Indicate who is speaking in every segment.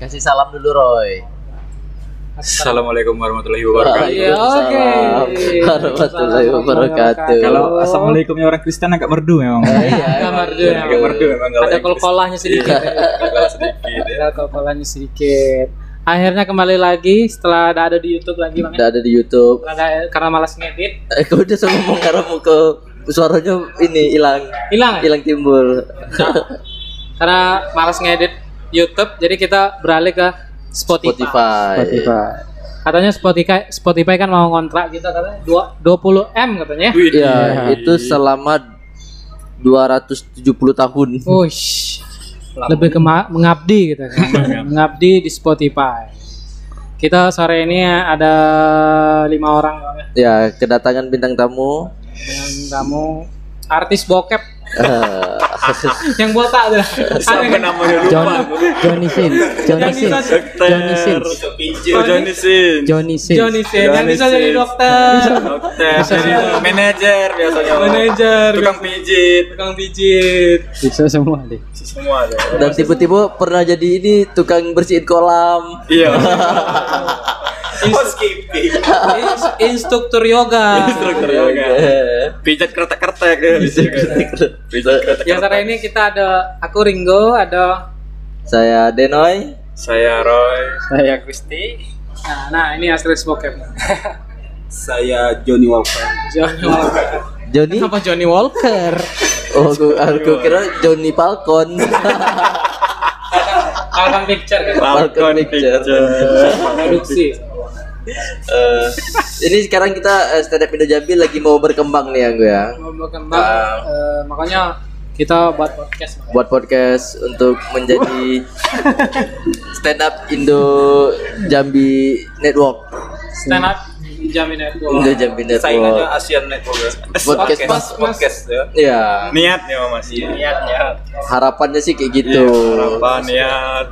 Speaker 1: Kasih salam dulu Roy.
Speaker 2: Assalamualaikum warahmatullahi wabarakatuh.
Speaker 3: Iya, oke.
Speaker 1: Waalaikumsalam Warahmatullahi wabarakatuh.
Speaker 2: Kalau assalamualaikumnya orang Kristen agak merdu memang.
Speaker 3: Kamar
Speaker 2: Iya, agak merdu memang. kalau
Speaker 3: Ada
Speaker 2: Inggris.
Speaker 3: kol-kolahnya sedikit.
Speaker 2: Iya, kol-kolah sedikit. ya.
Speaker 3: Ada kol-kolahnya sedikit. Akhirnya kembali lagi setelah ada ada di YouTube lagi bang.
Speaker 1: Udah ada di YouTube.
Speaker 3: Karena, karena malas ngedit,
Speaker 1: Eh, kau udah sama ngomong karena ke suaranya ini hilang,
Speaker 3: hilang. ya?
Speaker 1: hilang timbul.
Speaker 3: Karena malas ngedit YouTube, jadi kita beralih ke Spotify.
Speaker 1: Spotify.
Speaker 3: Katanya Spotify Spotify kan mau kontrak kita katanya dua- 20 m katanya.
Speaker 2: Wih,
Speaker 1: Ya, itu
Speaker 3: Iya.
Speaker 1: selama 270 tahun.
Speaker 3: Wush, lebih ke ma- mengabdi gitu kan. mengabdi di Spotify. Kita sore ini ada lima orang Bang,
Speaker 1: Ya,
Speaker 3: ya.
Speaker 1: kedatangan bintang tamu.
Speaker 3: dengan tamu artis bokep
Speaker 1: Eh,
Speaker 3: yang botak tuh. kan?
Speaker 2: Sampai namanya lupa.
Speaker 4: Johnny Sin, Johnny
Speaker 3: Yang
Speaker 4: Sin,
Speaker 3: bisa
Speaker 2: Dokter.
Speaker 4: Johnny Sin.
Speaker 2: Oh, Johnny Sin.
Speaker 4: Johnny Sin.
Speaker 3: Johnny Sin yang bisa
Speaker 2: Johnny
Speaker 3: jadi
Speaker 2: Sin.
Speaker 3: dokter,
Speaker 2: Dokter. Jadi manajer biasanya.
Speaker 3: manajer,
Speaker 2: Tukang pijit.
Speaker 3: tukang pijit.
Speaker 4: Bisa semua deh.
Speaker 2: Semua ada.
Speaker 1: Dan tiba-tiba pernah jadi ini tukang bersihin kolam.
Speaker 2: Iya. Oh, Housekeeping.
Speaker 3: Ins- instruktur yoga.
Speaker 2: Instruktur yoga.
Speaker 1: Eh,
Speaker 2: Pijat kertek-kertek. ya, bisa juga. Pijat kertek.
Speaker 3: Ya sore ini kita ada aku Ringo, ada
Speaker 1: Saya Denoy.
Speaker 2: Saya Roy.
Speaker 4: Saya Gusti.
Speaker 3: nah, nah ini artis bokep.
Speaker 2: Saya Johnny Walker.
Speaker 3: Johnny Walker.
Speaker 1: Joni.
Speaker 3: Kenapa Johnny Walker?
Speaker 1: Oh, aku, aku kira Johnny Falcon.
Speaker 3: Alkan Picture kan
Speaker 1: Falcon
Speaker 2: Falcon
Speaker 1: Picture.
Speaker 2: Picture.
Speaker 3: produksi.
Speaker 1: Eh, ini sekarang kita eh, stand up Indo Jambi lagi mau berkembang nih Anggo ya.
Speaker 3: Mau berkembang, eh, makanya kita buat podcast. Bang.
Speaker 1: Buat podcast untuk menjadi stand up Indo Jambi Network.
Speaker 3: Stand up jamin
Speaker 1: Indo
Speaker 3: network.
Speaker 1: Jambi
Speaker 2: Saingannya
Speaker 1: Network.
Speaker 2: Asian Network.
Speaker 1: Podcast.
Speaker 2: Podcast. Podcast. ya.
Speaker 1: Ya,
Speaker 2: Niatnya Iya, Mas.
Speaker 3: Niatnya.
Speaker 1: harapannya sih kayak gitu.
Speaker 2: Iya, harapan ya. niat.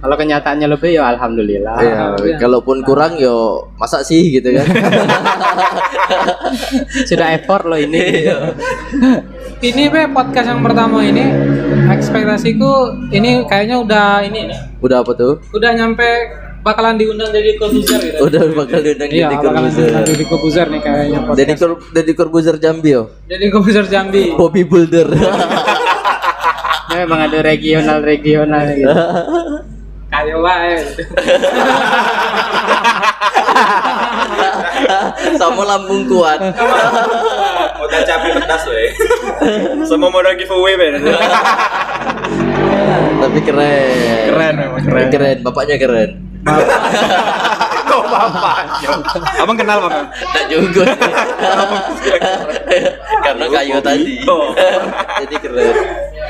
Speaker 4: Kalau kenyataannya lebih ya alhamdulillah.
Speaker 1: Ya, kalaupun kurang yo masa sih gitu kan.
Speaker 4: Sudah effort loh ini.
Speaker 1: Iya.
Speaker 3: Ini be podcast yang pertama ini ekspektasiku ini kayaknya udah ini nih.
Speaker 1: Udah apa tuh?
Speaker 3: Udah nyampe bakalan diundang jadi Corbuzier gitu.
Speaker 1: Udah bakal diundang
Speaker 3: Iya,
Speaker 1: Deddy
Speaker 3: bakalan
Speaker 1: Corbuzier.
Speaker 3: diundang jadi Corbuzier nih kayaknya
Speaker 1: Deddy
Speaker 3: podcast.
Speaker 1: Cor- Deddy Corbuzier Jambi yo.
Speaker 3: Jadi Corbuzier Jambi.
Speaker 1: Bobby Builder.
Speaker 4: Ya, memang ada regional-regional gitu.
Speaker 3: Kayo wae.
Speaker 1: Sama lambung kuat.
Speaker 2: Mau capek pedas loh ya. Semua modal giveaway Ben.
Speaker 1: Tapi keren.
Speaker 2: Keren memang
Speaker 1: Keren.
Speaker 2: keren.
Speaker 1: bapaknya keren.
Speaker 2: Kok bapaknya? Abang kenal bang?
Speaker 1: Enggak juga. sih. Karena kayu tadi.
Speaker 2: Oh.
Speaker 1: Jadi keren.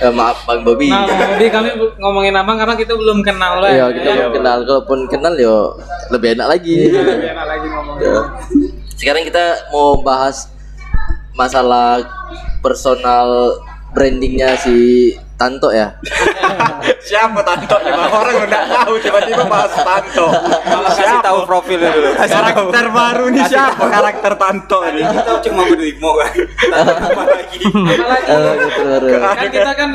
Speaker 1: Eh, maaf Bang Bobby.
Speaker 3: Nah, jadi kami bu- ngomongin abang karena kita belum kenal lah.
Speaker 1: Iya, kita
Speaker 3: ya.
Speaker 1: belum kenal. Kalaupun kenal yo lebih enak lagi.
Speaker 3: Lebih enak lagi ngomongin.
Speaker 1: Iya. Sekarang kita mau bahas masalah personal brandingnya si Tanto ya.
Speaker 2: Siapa Tanto? Lima orang udah tahu tiba-tiba bahas Tanto. Kasih tahu profilnya dulu. Karakter baru nih siapa? Karakter Tanto nih. Kita cuma berdemo kan. Tanto lagi.
Speaker 3: Apalagi
Speaker 1: Eh, gitu, baru.
Speaker 3: kan kita kan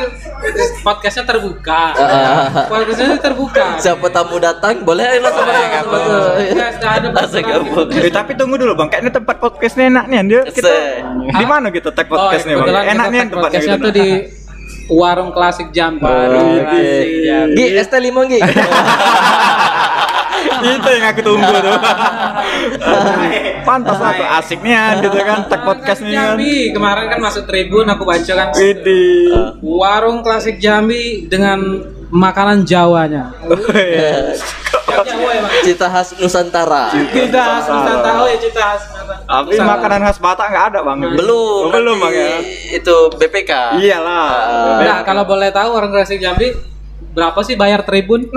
Speaker 3: podcastnya terbuka. Podcastnya terbuka.
Speaker 1: Ah, Siapa tamu datang boleh ayo langsung masuk. langsung masuk.
Speaker 3: Ya, sudah ada
Speaker 1: Langsung
Speaker 3: peraturan gitu.
Speaker 1: gabung.
Speaker 2: Eh, tapi tunggu dulu bang, kayaknya tempat podcastnya enak nih Dia kita
Speaker 1: Set.
Speaker 2: di mana kita tag
Speaker 3: Oh,
Speaker 2: podcastnya bang?
Speaker 3: kebetulan
Speaker 2: Enak
Speaker 3: kita
Speaker 2: nih
Speaker 3: tag
Speaker 2: tempatnya
Speaker 3: podcastnya
Speaker 1: nah.
Speaker 2: gitu.
Speaker 3: tuh di warung klasik Nah, Jambi.
Speaker 1: Oh, Oke.
Speaker 3: iya.
Speaker 2: klasik Jambi.
Speaker 1: Gi, ST lima Gi.
Speaker 2: itu yang aku tunggu tuh pantas apa asiknya gitu kan tag podcast nih kan
Speaker 3: Jambi kemarin kan masuk Tribun aku baca kan
Speaker 1: Iya.
Speaker 2: Widih.
Speaker 3: warung klasik Jambi dengan makanan Jawanya.
Speaker 1: Iya.
Speaker 3: Jawa ya, Bang?
Speaker 1: Cita khas Nusantara.
Speaker 3: Cita khas Nusantara oh ya cita khas Nusantara.
Speaker 2: tapi makanan khas Batak nggak ada bang
Speaker 1: Belum.
Speaker 2: Oh, belum bang
Speaker 1: nanti
Speaker 2: ya Iya.
Speaker 1: Itu BPK.
Speaker 2: iyalah Iya.
Speaker 3: Nah, kalau boleh tahu warung klasik Jambi berapa sih bayar tribun?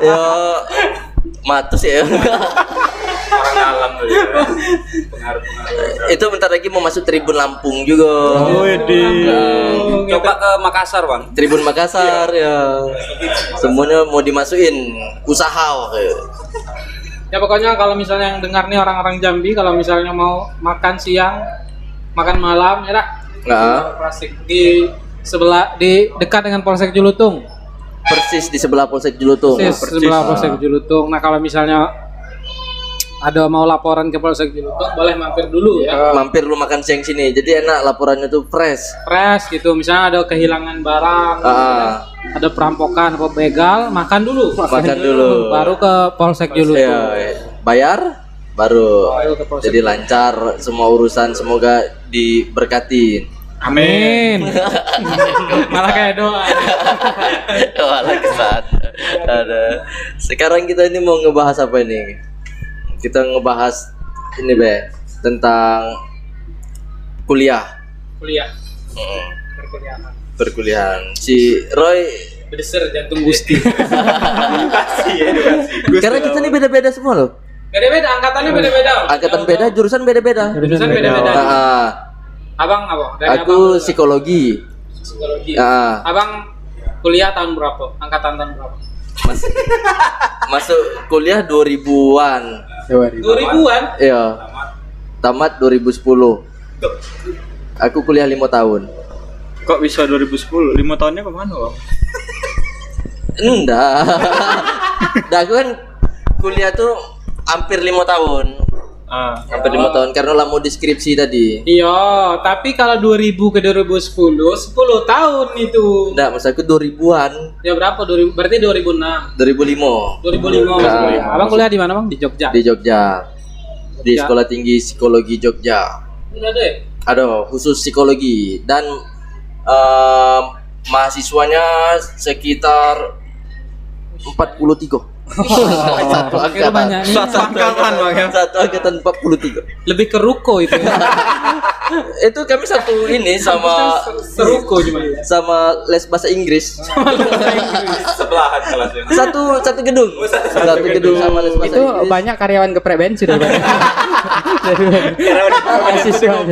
Speaker 1: Yo matus ya.
Speaker 2: orang dalam tuh ya
Speaker 1: itu bentar lagi mau masuk Tribun Lampung juga.
Speaker 2: Oh, iya.
Speaker 1: Hmm,
Speaker 2: coba
Speaker 3: Gitu.
Speaker 2: ke Makassar bang
Speaker 1: Tribun Makassar ya. Semuanya mau dimasukin usaha. eh.
Speaker 3: ya pokoknya kalau misalnya yang dengar nih orang-orang Jambi kalau misalnya mau makan siang, makan malam ya dah,
Speaker 1: Nah,
Speaker 3: klasik di sebelah di dekat dengan Polsek Julutung.
Speaker 1: Persis di sebelah Polsek Julutung.
Speaker 3: Persis, sebelah Polsek Julutung. Nah, kalau misalnya ada mau laporan ke Polsek Julutung, boleh mampir dulu ya.
Speaker 1: Mampir lu makan siang sini. Jadi enak laporannya tuh fresh.
Speaker 3: Fresh gitu, misalnya ada kehilangan barang,
Speaker 1: Ah,
Speaker 3: ada perampokan atau begal, makan dulu.
Speaker 1: makan dulu.
Speaker 3: Baru ke Polsek Julutung.
Speaker 1: Iya, iya. bayar baru
Speaker 3: Baru ke Polsek.
Speaker 1: jadi lancar semua urusan semoga diberkati.
Speaker 3: Amin. Malah kayak doa.
Speaker 1: Walau kesan. Ada. Sekarang kita ini mau ngebahas apa ini? Kita ngebahas ini be tentang kuliah
Speaker 3: Kuliah,
Speaker 1: Mm,
Speaker 3: perkuliahan.
Speaker 1: perkuliahan. Si Roy
Speaker 3: Berdeser jantung gusti.
Speaker 2: Iya, kan
Speaker 1: karena kita ini beda-beda semua loh.
Speaker 3: Beda-beda angkatannya beda-beda.
Speaker 1: Angkatan beda, jurusan beda-beda.
Speaker 3: Jurusan beda-beda.
Speaker 1: Ah, ah.
Speaker 3: Abang apa? Dari abang
Speaker 1: aku
Speaker 3: dulu.
Speaker 1: psikologi.
Speaker 3: psikologi.
Speaker 1: Ah.
Speaker 3: Abang kuliah tahun berapa? Angkatan tahun berapa?
Speaker 1: Mas- ah. masuk kuliah 2000-an.
Speaker 4: Sorry.
Speaker 3: 2000-an.
Speaker 1: Iya. Tamat 2010. Aku kuliah lima tahun.
Speaker 2: Kok bisa 2010? 5 tahunnya kemana bang?
Speaker 1: Enggak. Dah aku kan kuliah tuh hampir lima tahun.
Speaker 2: Ah,
Speaker 1: Hampir lima tahun karena lah mau deskripsi tadi.
Speaker 3: Iya, tapi kalau 2000 ke 2010, 10 tahun itu.
Speaker 1: Enggak, masa aku 2000-an,
Speaker 3: Ya berapa? 2000, berarti 2006.
Speaker 1: 2005
Speaker 3: 2005.
Speaker 1: Nah.
Speaker 3: Abang kuliah di mana, Bang? Di Jogja.
Speaker 1: di Jogja. Di
Speaker 3: Jogja.
Speaker 1: Sekolah Tinggi Psikologi Jogja.
Speaker 3: Enggak deh.
Speaker 1: Ada khusus psikologi dan eh, mahasiswanya sekitar 43. Satu
Speaker 3: Kira banyak nih.
Speaker 1: Satu angkatan, ya. Satu angkatan 43.
Speaker 3: Lebih ke ruko itu. ya.
Speaker 1: itu kami satu ini sama
Speaker 3: Seruko cuma.
Speaker 1: sama les bahasa Inggris
Speaker 2: sebelahan kelasnya.
Speaker 1: satu satu gedung Oh, satu gedung sama les bahasa
Speaker 4: Itu
Speaker 1: Inggris
Speaker 4: banyak karyawan geprek bensin ya, Bang. Jadi mahasiswa.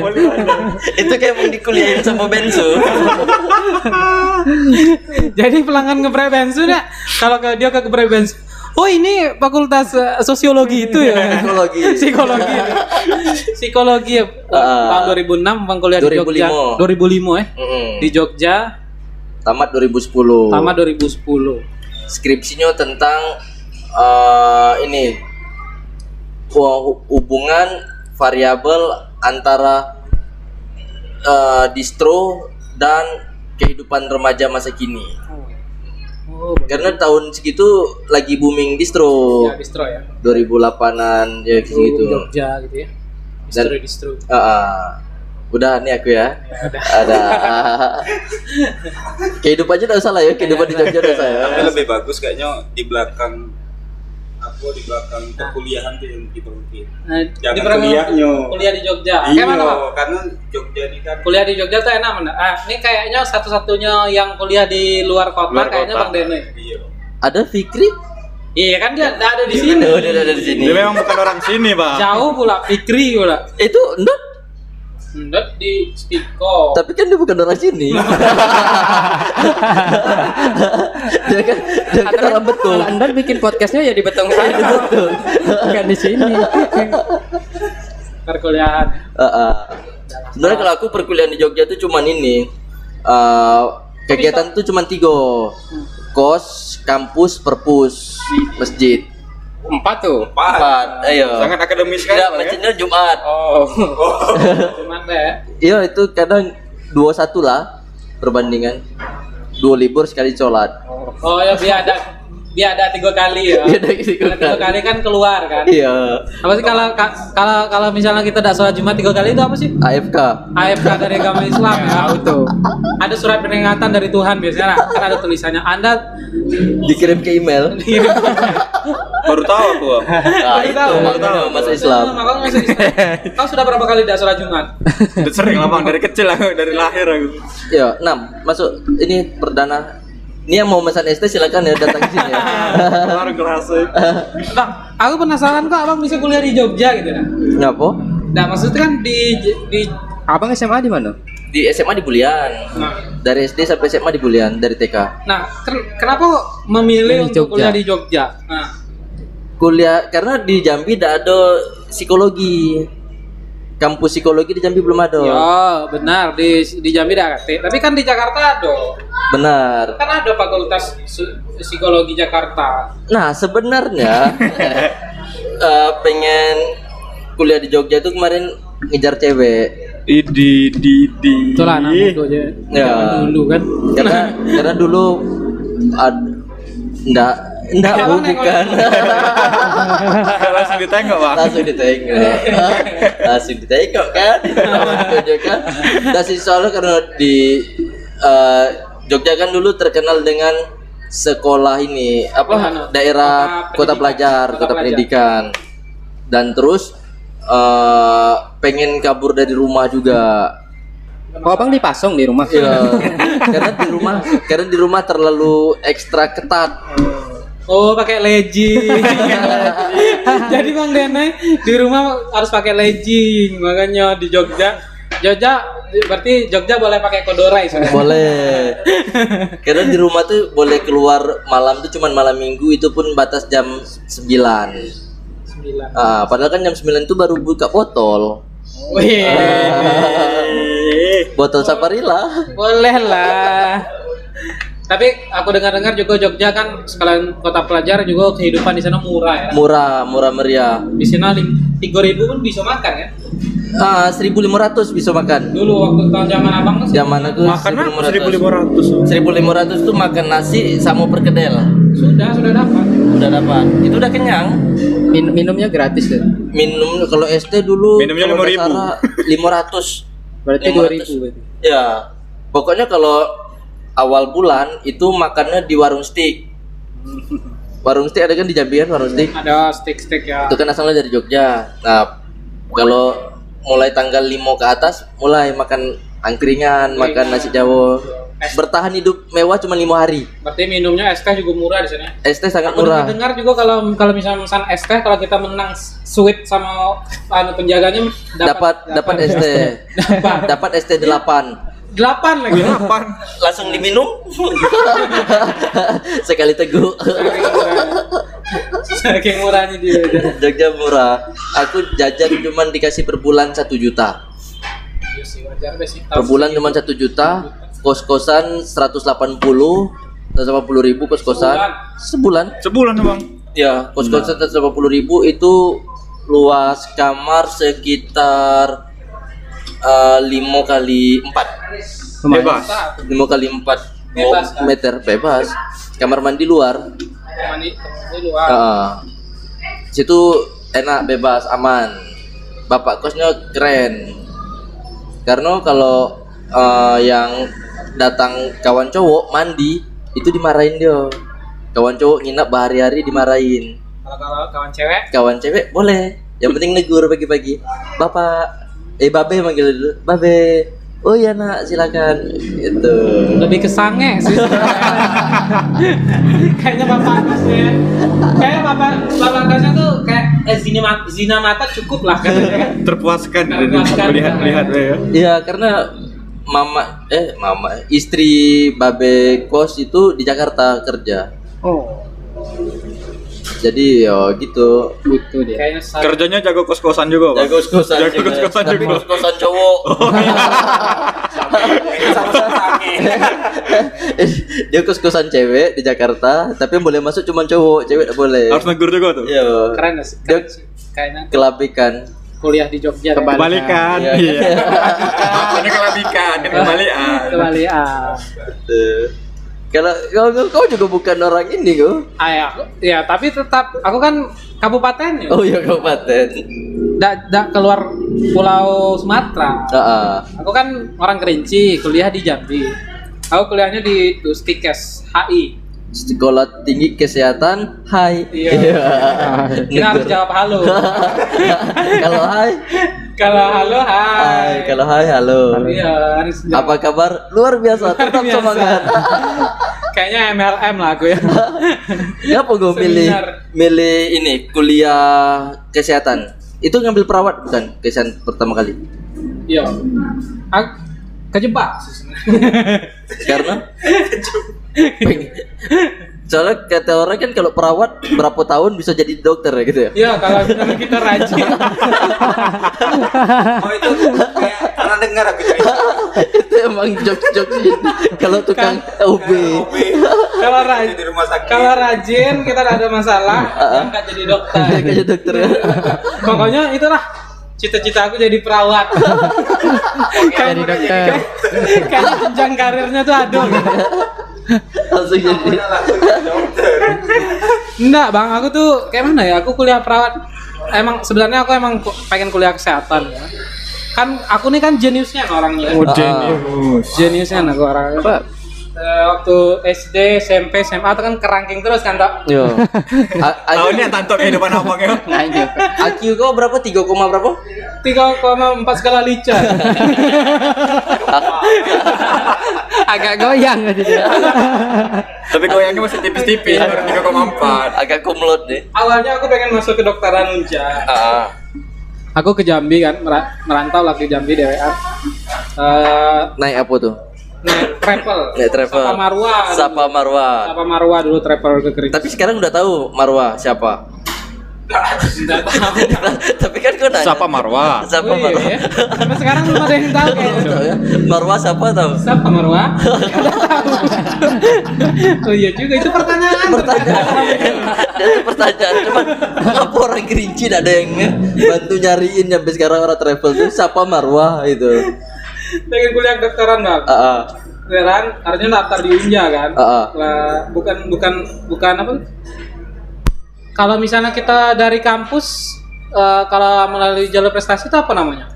Speaker 1: itu kayak mau dikuliahin sama Bensu
Speaker 3: Jadi pelanggan ke Prebensu ya, kalau ke dia ke Prebensu, oh ini fakultas eh, sosiologi itu ya.
Speaker 1: Psikologi.
Speaker 3: Psikologi. Psikologi ya.
Speaker 1: Ah.
Speaker 3: tahun 2006 Bang kuliah di Jogja.
Speaker 1: 2005.
Speaker 3: 2005 ya.
Speaker 1: Mm-mm.
Speaker 3: Di Jogja,
Speaker 1: tamat 2010
Speaker 3: tamat 2010.
Speaker 1: skripsinya tentang eh, ini hu- hubungan variabel antara eh, distro dan kehidupan remaja masa kini
Speaker 3: Oh,
Speaker 1: karena tahun segitu lagi booming distro
Speaker 2: Iya,
Speaker 3: ya distro ya.
Speaker 1: 2008-an ya kayak gitu.
Speaker 3: Jogja gitu ya. Distro distro.
Speaker 1: Ah, ah. udah nih aku ya. Ada. kehidupan aja enggak usah lah ya, kehidupan di Jogja enggak usah ya.
Speaker 2: Tapi lebih bagus kayaknya di belakang aku di belakang perkuliahan tuh yang diperlukan.
Speaker 3: Nah,
Speaker 2: Jangan
Speaker 3: di Prebensu-
Speaker 2: kuliahnya.
Speaker 3: Kuliah di Jogja.
Speaker 2: Iya,
Speaker 3: Kayak mana, Bang?
Speaker 2: karena Jogja ini kan
Speaker 3: Kuliah di Jogja tuh enak mana? Ah, ini kayaknya satu-satunya yang kuliah di luar kota
Speaker 2: luar
Speaker 3: kayaknya
Speaker 2: kota.
Speaker 3: Bang Dene.
Speaker 2: Iya.
Speaker 1: Ada Fikri?
Speaker 3: Iya kan dia nggak ada di sini.
Speaker 1: Udah udah udah di sini.
Speaker 2: Iya, Dia memang bukan orang sini, Bang.
Speaker 3: Jauh pula Fikri pula.
Speaker 1: Itu endot,
Speaker 3: Ndet di Stiko.
Speaker 1: tapi kan dia bukan orang sini. dia kan dia kan orang betul.
Speaker 4: Kalau Anda bikin podcastnya ya di Betong sana. Bukan di sini.
Speaker 3: Perkuliahan.
Speaker 1: Ah, ah. Sebenarnya kalau aku perkuliahan di Jogja tuh cuman ini eh, kegiatan tuh cuman tiga kos, kampus, perpus, masjid.
Speaker 4: Empat tuh.
Speaker 1: Empat, ayo.
Speaker 2: Sangat akademis kan.
Speaker 1: Tidak,
Speaker 2: Bang, ya?
Speaker 1: masjidnya Jumat.
Speaker 4: Oh.
Speaker 3: Cuman deh.
Speaker 1: Iya, itu kadang dua satu lah perbandingan. Dua libur sekali sholat.
Speaker 3: Oh ya biar ada biar ada tiga kali ya.
Speaker 1: Iya, dari situ
Speaker 3: Ada tiga
Speaker 1: kan.
Speaker 3: kali kan keluar kan.
Speaker 1: Iya,
Speaker 3: Apa sih kalau ka- kalau kalau misalnya kita tidak sholat Jumat tiga kali itu apa sih?
Speaker 1: AFK.
Speaker 3: AFK dari agama Islam ya.
Speaker 4: Tuh.
Speaker 3: Ada surat peringatan dari Tuhan biasanya nah, kan ada tulisannya Anda
Speaker 1: Dikirim ke email.
Speaker 2: Baru tahu aku. Bang.
Speaker 1: Nah, itu
Speaker 3: tahu.
Speaker 1: makanya masuk Islam.
Speaker 3: Makanya masuk Islam. Kau sudah berapa kali tidak sholat Jumat?
Speaker 2: Udah sering lah, Bang, dari kecil aku, dari lahir aku.
Speaker 1: Ya, enam. Masuk ini perdana. Ini yang mau pesan es teh silakan ya datang ke sini. Ya.
Speaker 2: Baru kelas.
Speaker 3: Bang, aku penasaran kok abang bisa kuliah di Jogja gitu nah.
Speaker 1: Ngapo?
Speaker 3: Nah, maksudnya kan di di
Speaker 4: Abang SMA di mana?
Speaker 1: Di SMA di Bulian.
Speaker 3: nah,
Speaker 1: Dari SD sampai SMA di Bulian, dari TK.
Speaker 3: nah, ken- kenapa kok memilih
Speaker 4: Di
Speaker 3: untuk
Speaker 4: Jogja.
Speaker 3: kuliah di Jogja? Nah,
Speaker 1: Kuliah karena di Jambi tidak ada psikologi. kampus psikologi di Jambi belum ada.
Speaker 3: Ya, benar di di Jambi ada KT. Tapi kan di Jakarta ada.
Speaker 1: Benar.
Speaker 3: Kan ada Fakultas Su- Psikologi Jakarta.
Speaker 1: Nah, sebenarnya eh, pengen kuliah di Jogja itu kemarin ngejar cewek.
Speaker 2: Idi di di.
Speaker 3: Itulah anak muda aja.
Speaker 1: Ya.
Speaker 3: Zaman Dulu kan.
Speaker 1: Karena karena dulu ad- ndak ndak Bu, bukan.
Speaker 2: Langsung ditengok bang.
Speaker 1: langsung ditengok langsung ditengok kan Jogja kan dan sih soalnya karena kan di eh, Jogja kan dulu terkenal dengan sekolah ini
Speaker 3: Anu,
Speaker 1: apa daerah
Speaker 3: kota
Speaker 1: kota,
Speaker 3: pendidikan.
Speaker 1: pelajar
Speaker 3: Kota
Speaker 1: kota,
Speaker 3: pelajar.
Speaker 1: pendidikan dan terus eh, pengen kabur dari rumah juga
Speaker 4: Oh, abang dipasang di rumah.
Speaker 1: Iya. karena di rumah karena di rumah terlalu ekstra ketat
Speaker 3: Oh, pakai legging. Jadi Bang Dene di rumah harus pakai legging. Makanya di Jogja Jogja berarti Jogja boleh pakai kodorai sudah.
Speaker 1: boleh karena di rumah tuh boleh keluar malam tuh cuman malam minggu itu pun batas jam 9
Speaker 3: Sembilan.
Speaker 1: Ah, padahal kan jam 9 tuh baru buka botol
Speaker 3: Wih.
Speaker 1: botol saparilla
Speaker 3: Boleh lah. Tapi aku dengar-dengar juga Jogja kan sekalian kota pelajar juga kehidupan di sana murah ya.
Speaker 1: murah murah meriah
Speaker 3: Di sana lim- 3000 pun bisa makan ya.
Speaker 1: ah 1500 bisa makan
Speaker 3: Dulu waktu tahun zaman Abang tuh
Speaker 1: zaman aku
Speaker 2: Makan apa
Speaker 1: 1500
Speaker 2: 1500?
Speaker 1: tuh makan nasi sama perkedel
Speaker 3: sudah sudah dapat.
Speaker 1: udah dapat itu udah kenyang
Speaker 4: Min- minumnya gratis tuh.
Speaker 1: minum kalau SD dulu
Speaker 2: Minumnya
Speaker 1: kalau nggak
Speaker 2: 5.000.
Speaker 1: salah, 500
Speaker 4: Berarti
Speaker 1: 500.
Speaker 4: 2000 berarti.
Speaker 1: Ya, pokoknya kalau awal bulan itu makannya di warung steak. Warung steak ada kan di Jambi kan warung steak.
Speaker 3: Ada steak-steak ya.
Speaker 1: Itu kan asalnya dari Jogja. Nah, kalau mulai tanggal 5 ke atas mulai makan angkringan, makan nasi jawa. Bertahan hidup mewah cuma lima hari.
Speaker 3: Berarti minumnya es teh juga murah di sana.
Speaker 1: ST sangat
Speaker 3: Aku dengar,
Speaker 1: murah.
Speaker 3: dengar juga kalau kalau misalnya pesan es teh kalau kita menang sweet sama anu penjaganya
Speaker 1: Dapat dapat ST. Dapat ST 8.
Speaker 3: 8 lagi.
Speaker 2: Kapan?
Speaker 1: Langsung diminum. Sekali teguk.
Speaker 3: Saking murah. Saking murahnya dia.
Speaker 1: Jogja murah. Aku jajan cuman dikasih per bulan satu juta.
Speaker 3: Iya sih wajar deh sih.
Speaker 1: Per bulan cuman satu juta. Kos-kosan 180 180 ribu kos-kosan sebulan.
Speaker 2: Sebulan bang.
Speaker 1: Ya, kos-kosan 180 ribu itu luas kamar sekitar eh, lima kali empat
Speaker 2: Bebas.
Speaker 1: lima kali empat
Speaker 3: Bebas, kan?
Speaker 1: meter bebas kamar mandi luar
Speaker 3: Teman di teman di luar.
Speaker 1: Heeh. situ enak bebas aman bapak kosnya keren karena kalau eh, yang datang kawan cowok mandi itu dimarahin dia kawan cowok nginap berhari-hari dimarahin
Speaker 3: Kalau kalau kawan cewek
Speaker 1: kawan cewek boleh yang penting negur pagi-pagi bapak eh babe manggil dulu babe oh iya nak silakan gitu
Speaker 3: lebih ke sange sih. Kayaknya bapak Agasnya. Kayaknya bapak bapak Agasnya tuh kayak eh, zina, ma- zina mata cukup lah katanya kan.
Speaker 2: Terpuaskan
Speaker 3: Terpuaskan.
Speaker 2: melihat-lihat ya.
Speaker 1: Iya karena mama eh mama istri babe kos itu di Jakarta kerja.
Speaker 4: Oh,
Speaker 1: Jadi ya gitu.
Speaker 4: butuh dia.
Speaker 3: Kayaknya sa-
Speaker 2: Kerjanya jago kos-kosan juga bang.
Speaker 1: Jago kos-kosan
Speaker 2: Oh. Jago kos-kosan
Speaker 1: Tapi
Speaker 2: juga. Oh, iya.
Speaker 1: kos-kosan cowok. Dia kos-kosan cewek di Jakarta, tapi yang boleh masuk cuma cowok, cewek tak boleh.
Speaker 2: Harus negur juga tuh.
Speaker 1: Iya.
Speaker 3: keren sih. Keren sih. Kayaknya
Speaker 1: Kelabikan.
Speaker 3: kuliah di Jogja ya.
Speaker 2: Kebalikan.
Speaker 1: Iya.
Speaker 2: Iya. Ini kelabikan, ini kebalikan.
Speaker 3: Kembali ah.
Speaker 1: Tuh. Kalau kau, kau- kau juga bukan orang ini kau.
Speaker 3: Ah, ya, aku- ya, tapi tetap aku kan kabupaten ya.
Speaker 1: Oh iya kabupaten.
Speaker 3: Nggak- nggak keluar Pulau Sumatera.
Speaker 1: Heeh.
Speaker 3: Aku kan orang Kerinci, kuliah di Jambi. Aku kuliahnya di Stikes HI.
Speaker 1: Sekolah Tinggi Kesehatan. Hai.
Speaker 3: Iya. Kita harus
Speaker 1: Negur.
Speaker 3: jawab halo.
Speaker 1: kalau hai,
Speaker 3: kalau halo
Speaker 1: hai.
Speaker 3: hai.
Speaker 1: Kalau hai, halo.
Speaker 3: Iya, harus
Speaker 1: Apa
Speaker 3: jawab.
Speaker 1: kabar? Luar biasa, tetap
Speaker 3: biasa.
Speaker 1: semangat.
Speaker 3: Kayaknya MLM lah aku ya.
Speaker 1: Kenapa gue milih
Speaker 3: Seminar.
Speaker 1: milih ini kuliah kesehatan? Itu ngambil perawat bukan kesehatan pertama kali?
Speaker 3: Iya. Aku kejebak sih sebenarnya.
Speaker 1: Karena peng- pengen, Soalnya kata orang kan kalau perawat berapa tahun bisa jadi dokter ya gitu ya.
Speaker 3: Ya kalau misalnya kita rajin.
Speaker 2: Oh itu kayak pernah dengar aku cerita.
Speaker 1: itu emang jok-jok kalau tukang
Speaker 3: Kan.
Speaker 1: OB.
Speaker 3: Kalau rajin
Speaker 2: Di rumah sakit.
Speaker 3: Kalau rajin kita ada masalah
Speaker 1: Heeh.
Speaker 3: nggak jadi dokter.
Speaker 1: Dia kayak dokter ya.
Speaker 3: Pokoknya itulah cita-cita aku jadi perawat.
Speaker 4: Jadi dokter.
Speaker 3: Kayaknya jenjang karirnya tuh aduh.
Speaker 1: Langsung jadi.
Speaker 2: Udah langsung jadi dokter.
Speaker 3: Enggak, Bang, aku tuh kayak mana ya? Aku kuliah perawat. Emang sebenarnya aku emang ku- pengen kuliah kesehatan ya. Kan aku nih kan jeniusnya orangnya.
Speaker 2: Ah. ya.
Speaker 3: Jeniusnya aku orangnya.
Speaker 4: Pak.
Speaker 3: Eh, waktu SD, SMP, SMA tuh kan kerangking terus kan, Tok?
Speaker 1: Yo.
Speaker 2: Tahunnya tanto kehidupan abang ya.
Speaker 1: IQ kau berapa? 3, berapa?
Speaker 3: 3,4 skala lica.
Speaker 4: Agak goyang tadi dia.
Speaker 2: Tapi goyangnya masih tipis-tipis baru 3,4.
Speaker 1: Agak kumlot deh.
Speaker 3: Awalnya aku pengen masuk ke dokteran Unja.
Speaker 1: Ah.
Speaker 3: Aku ke Jambi kan, mera- merantau lah ke Jambi DWR. Eh,
Speaker 1: Naik apa tuh?
Speaker 3: naik travel.
Speaker 1: Naik travel.
Speaker 3: Sapa Marwa.
Speaker 1: Sapa Marwa.
Speaker 3: Sapa Marwa dulu travel ke Kerinci.
Speaker 1: Tapi sekarang udah tahu Marwa siapa. Tapi kan kau nanya.
Speaker 2: Siapa Marwa?
Speaker 1: Sapa
Speaker 3: Oh, iya,
Speaker 1: Marwa.
Speaker 3: ya. Sampai sekarang belum ada yang tahu kayaknya.
Speaker 1: Tahu ya? Marwa siapa tahu?
Speaker 3: Sapa Marwa? Nggak tahu. oh iya juga itu pertanyaan.
Speaker 1: pertanyaan dan itu pertanyaan cuman kenapa orang kerinci tidak ada yang bantu nyariin sampai sekarang orang travel tuh siapa Marwah itu
Speaker 3: Pengen kuliah kedokteran bang.
Speaker 1: ah ah.
Speaker 3: Kedokteran harusnya daftar di Unja kan.
Speaker 1: Heeh.
Speaker 3: Lah, bukan bukan bukan apa? Kalau misalnya kita dari kampus eh, kalau melalui jalur prestasi itu apa namanya?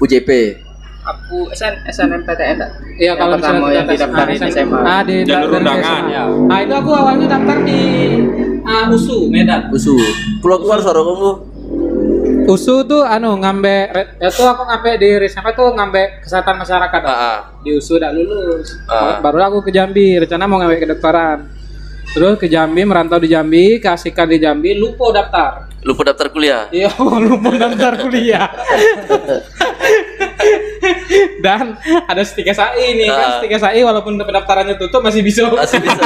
Speaker 1: UJP
Speaker 5: Aku SN, SNMPTN tak? Yang
Speaker 3: Iya kalau
Speaker 5: pertama
Speaker 3: misalnya
Speaker 5: yang
Speaker 3: kita tes-
Speaker 5: didaftarin
Speaker 3: ah,
Speaker 5: SMA.
Speaker 3: Ah, di
Speaker 2: Jalur
Speaker 3: daftarin
Speaker 2: undangan.
Speaker 3: SMA. Nah, itu aku awalnya daftar di ah, USU Medan.
Speaker 1: usu keluar keluar suara kamu
Speaker 3: USU tuh anu ngambe re- itu aku ngambe di apa tuh ngambe kesehatan masyarakat.
Speaker 1: ah ah.
Speaker 3: Di USU udah lulus.
Speaker 1: Ah.
Speaker 3: Baru aku ke Jambi, rencana mau ngambil kedokteran. Terus ke Jambi, merantau di Jambi, keasikan di Jambi, lupa daftar.
Speaker 1: lupa daftar kuliah
Speaker 3: Iya, lupa daftar kuliah. Dan ada stik SAI nih,
Speaker 1: Ah.
Speaker 3: kan stik SAI walaupun pendaftarannya tutup masih bisa.
Speaker 1: masih bisa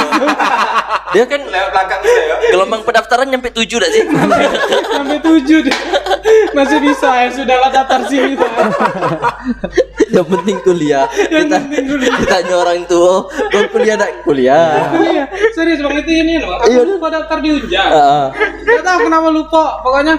Speaker 1: dia kan
Speaker 2: Lewat belakang saya ya.
Speaker 1: gelombang pendaftaran nyampe tujuh dah sih
Speaker 3: Sampai tujuh deh. masih bisa ya sudahlah daftar sini.
Speaker 1: yang penting kuliah kita ditanya orang tua kau kuliah nak kuliah
Speaker 3: Iya, serius banget ini loh. Aku lupa daftar di Unja.
Speaker 1: Iya, kan? ah ah.
Speaker 3: Gak tahu kenapa lupa. Pokoknya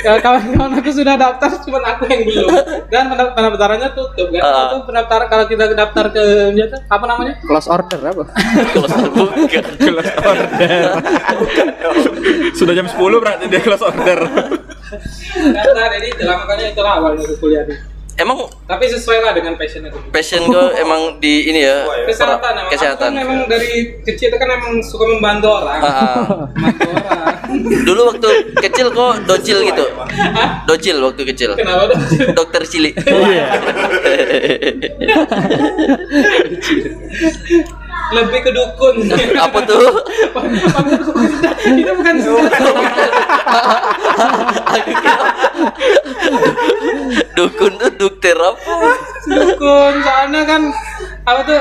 Speaker 3: ya, kawan-kawan aku sudah daftar, cuman aku yang belum. Dan pendaft- pendaftarannya tutup. Kan
Speaker 1: Ah.
Speaker 3: itu pendaftar kalau kita daftar ke Unja tuh, apa namanya?
Speaker 4: Close order apa?
Speaker 1: kelas terbuka
Speaker 2: Kelas order. Sudah jam 10 berarti dia kelas order.
Speaker 3: Daftar jadi itulah makanya itulah awalnya aku kuliah nih.
Speaker 1: emang
Speaker 3: Tapi sesuai lah dengan passion aku.
Speaker 1: passion kau emang di ini ya
Speaker 3: Kesehatan, emang.
Speaker 1: kesehatan
Speaker 3: Aku kan memang dari kecil itu kan emang suka membantu orang.
Speaker 1: Ah, ah.
Speaker 3: Membantu orang.
Speaker 1: Dulu waktu kecil kok docil gitu. Docil waktu kecil.
Speaker 3: Kenapa dong?
Speaker 1: Dokter cilik.
Speaker 3: Lebih ke dukun.
Speaker 1: Apa tuh?
Speaker 3: Itu bukan
Speaker 1: Dukun tuh dokter apa?
Speaker 3: dukun soalnya kan apa tuh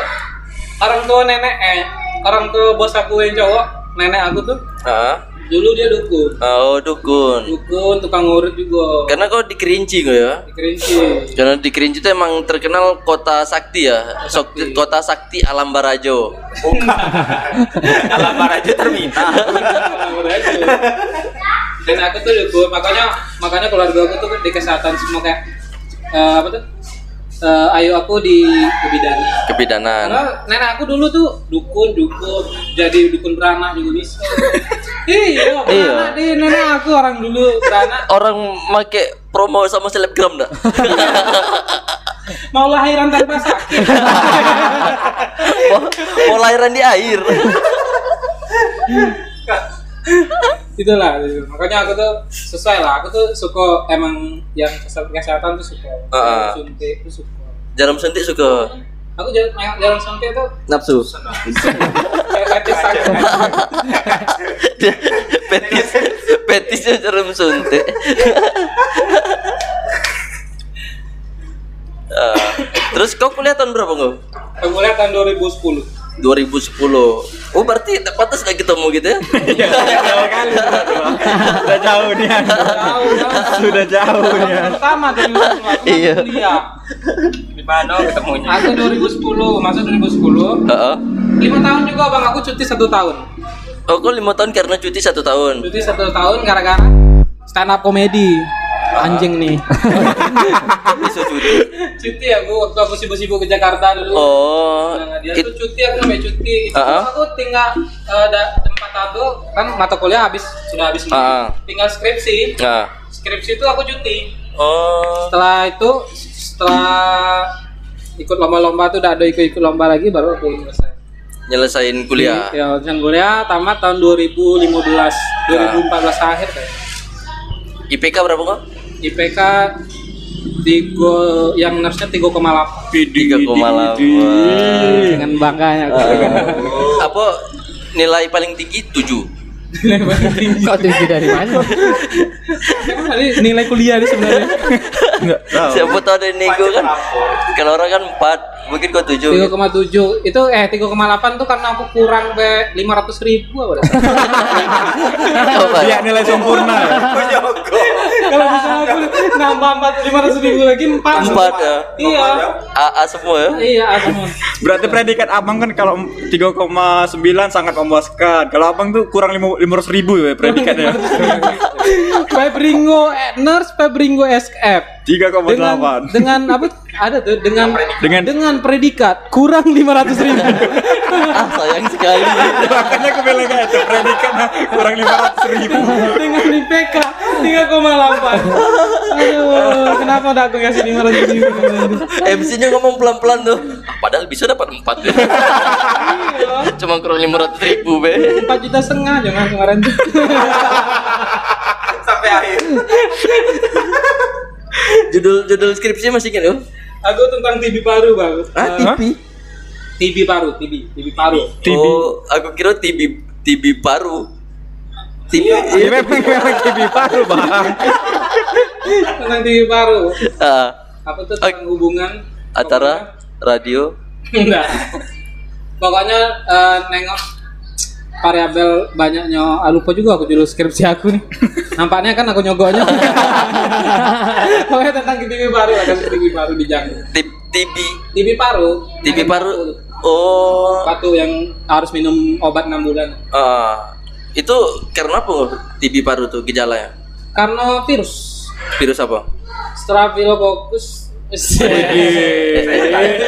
Speaker 3: orang tua nenek eh orang tua bos aku yang cowok nenek aku tuh
Speaker 1: Hah?
Speaker 3: dulu dia dukun
Speaker 1: Oh, dukun.
Speaker 3: dukun tukang ngurut juga
Speaker 1: Karena kau di Kerinci kok ya?
Speaker 3: di kerinci
Speaker 1: Karena di Kerinci itu emang terkenal kota sakti ya. Sok- Kota sakti Alam Barajo.
Speaker 2: Alam Barajo terminal.
Speaker 3: Tukang ngurut aja. dan aku tuh dukun makanya makanya keluarga aku tuh di kesehatan semua kayak eh, apa tuh Eh, ayo aku di kebidani
Speaker 1: Kebidanan.
Speaker 3: Karena nenek aku dulu tuh dukun, dukun, jadi dukun beranak juga bisa. iya, beranak deh nenek aku orang dulu beranak.
Speaker 1: Orang make promo sama selebgram dah.
Speaker 3: Mau lahiran tanpa sakit.
Speaker 1: mau, mau lahiran di air.
Speaker 3: Itulah, gitu. makanya aku tuh sesuai lah. Aku tuh suka emang yang kesehatan, kesehatan tuh suka.
Speaker 1: Ah.
Speaker 3: Suntik tuh suka.
Speaker 1: Jarum suntik suka
Speaker 3: Aku jalan, jalan suntik tuh
Speaker 1: nafsu.
Speaker 3: kayak fetis aku.
Speaker 1: Dia- petis petisnya jarum suntik Eh, Ah, terus kau kuliah tahun berapa kau?
Speaker 3: Aku mulai tahun 2010.
Speaker 1: 2010 Oh berarti tak pantas lagi ketemu gitu ya?
Speaker 2: Jauh kali Sudah jauh nih.
Speaker 3: Jauh, jauh.
Speaker 2: Sudah jauh nih.
Speaker 3: Pertama tuh yang masuk, aku
Speaker 1: Iya.
Speaker 3: masuk kuliah.
Speaker 2: Di mana ketemunya?
Speaker 3: Aku 2010, masuk 2010.
Speaker 1: Heeh.
Speaker 3: Lima tahun juga bang, aku cuti satu tahun.
Speaker 1: Oh kok lima tahun karena cuti satu tahun?
Speaker 3: Cuti satu tahun gara-gara stand up komedi. Anjing nih.
Speaker 1: Bisa cuti.
Speaker 3: cuti aku waktu aku sibuk-sibuk ke Jakarta dulu.
Speaker 1: Oh.
Speaker 3: Nah, dia tuh
Speaker 1: It,
Speaker 3: cuti aku sampai cuti. Itu
Speaker 1: Ah, ah.
Speaker 3: aku tinggal eh, da- tempat aku kan mata kuliah habis sudah habis.
Speaker 1: Ah, ah.
Speaker 3: Tinggal skripsi.
Speaker 1: nah.
Speaker 3: Skripsi itu aku cuti.
Speaker 1: Oh.
Speaker 3: setelah itu setelah ikut lomba-lomba tuh udah ada ikut-ikut lomba lagi baru aku selesai
Speaker 1: Nyelesain kuliah.
Speaker 3: ya yang kuliah tamat tahun 2015 2014 akhir kayak
Speaker 1: IPK berapa
Speaker 3: Oh.
Speaker 1: kok?
Speaker 3: IPK tiga yang harusnya 3,8
Speaker 1: Tiga koma delapan.
Speaker 3: dengan bangganya aku
Speaker 1: Ah. Apa nilai paling tinggi tujuh?
Speaker 4: Kok tinggi dari mana?
Speaker 3: Emang tadi nilai kuliah ini sebenarnya Oh.
Speaker 1: Siapa tahu ada yang nego kan? Kalau orang kan empat, mungkin kau tujuh.
Speaker 3: 3,7 itu eh 3,8 tuh karena aku kurang be 500 ribu apa dah?
Speaker 1: Apa?
Speaker 3: Iya.
Speaker 2: Dia nilai sempurna. ya?
Speaker 3: kalau bisa aku nambah 500 ribu lagi 4
Speaker 1: Empat ya.
Speaker 3: iya
Speaker 1: AA semua ya.
Speaker 3: iya aku
Speaker 2: Berarti predikat abang kan kalau 3,9 sangat memuaskan. Kalau abang tuh kurang lima- 500 ribu ya predikatnya.
Speaker 3: Pebringo eh, Nurse Pebringo SKF dengan
Speaker 2: 3,8.
Speaker 3: dengan apa ada tuh dengan
Speaker 2: Dengan-
Speaker 3: predikat kurang 500 ribu
Speaker 1: Ah sayang sekali.
Speaker 2: Makanya aku bilang kayak itu predikat kurang 500 ribu.
Speaker 3: dengan IPK 3,8 aduh kenapa udah aku kasih 500 ribu
Speaker 1: MC-nya ngomong pelan-pelan tuh. Ah, Padahal bisa dapat empat. ya. Cuma kurang lima ratus ribu be.
Speaker 3: 4 juta setengah jangan kemarin tuh
Speaker 2: Sampai akhir.
Speaker 1: Judul judul skripsi masih ingat tuh?
Speaker 3: aku tentang TB paru bang
Speaker 1: Ah TV.
Speaker 3: TB paru TB TB paru
Speaker 2: TB.
Speaker 1: Oh, aku kira TV TV paru. TV.
Speaker 2: Ya memang memang TB paru, Bang.
Speaker 3: tentang TB paru
Speaker 1: Ah,
Speaker 3: apa tuh tentang hubungan
Speaker 1: acara radio.
Speaker 3: Enggak. Pokoknya eh, nengok variabel banyaknya ah, lupa juga aku judul skripsi aku nih. Nampaknya kan aku nyogoknya. Pokoknya tentang TV baru ada TV baru di Jang.
Speaker 1: Ti- TV
Speaker 3: TV paru.
Speaker 1: TV
Speaker 3: Yang
Speaker 1: paru. Oh.
Speaker 3: Patu yang harus minum obat 6 bulan
Speaker 1: Ah, itu karena apa TB paru tuh gejalanya?
Speaker 3: karena virus.
Speaker 1: Virus apa?
Speaker 3: Staphylococcus
Speaker 2: Iya.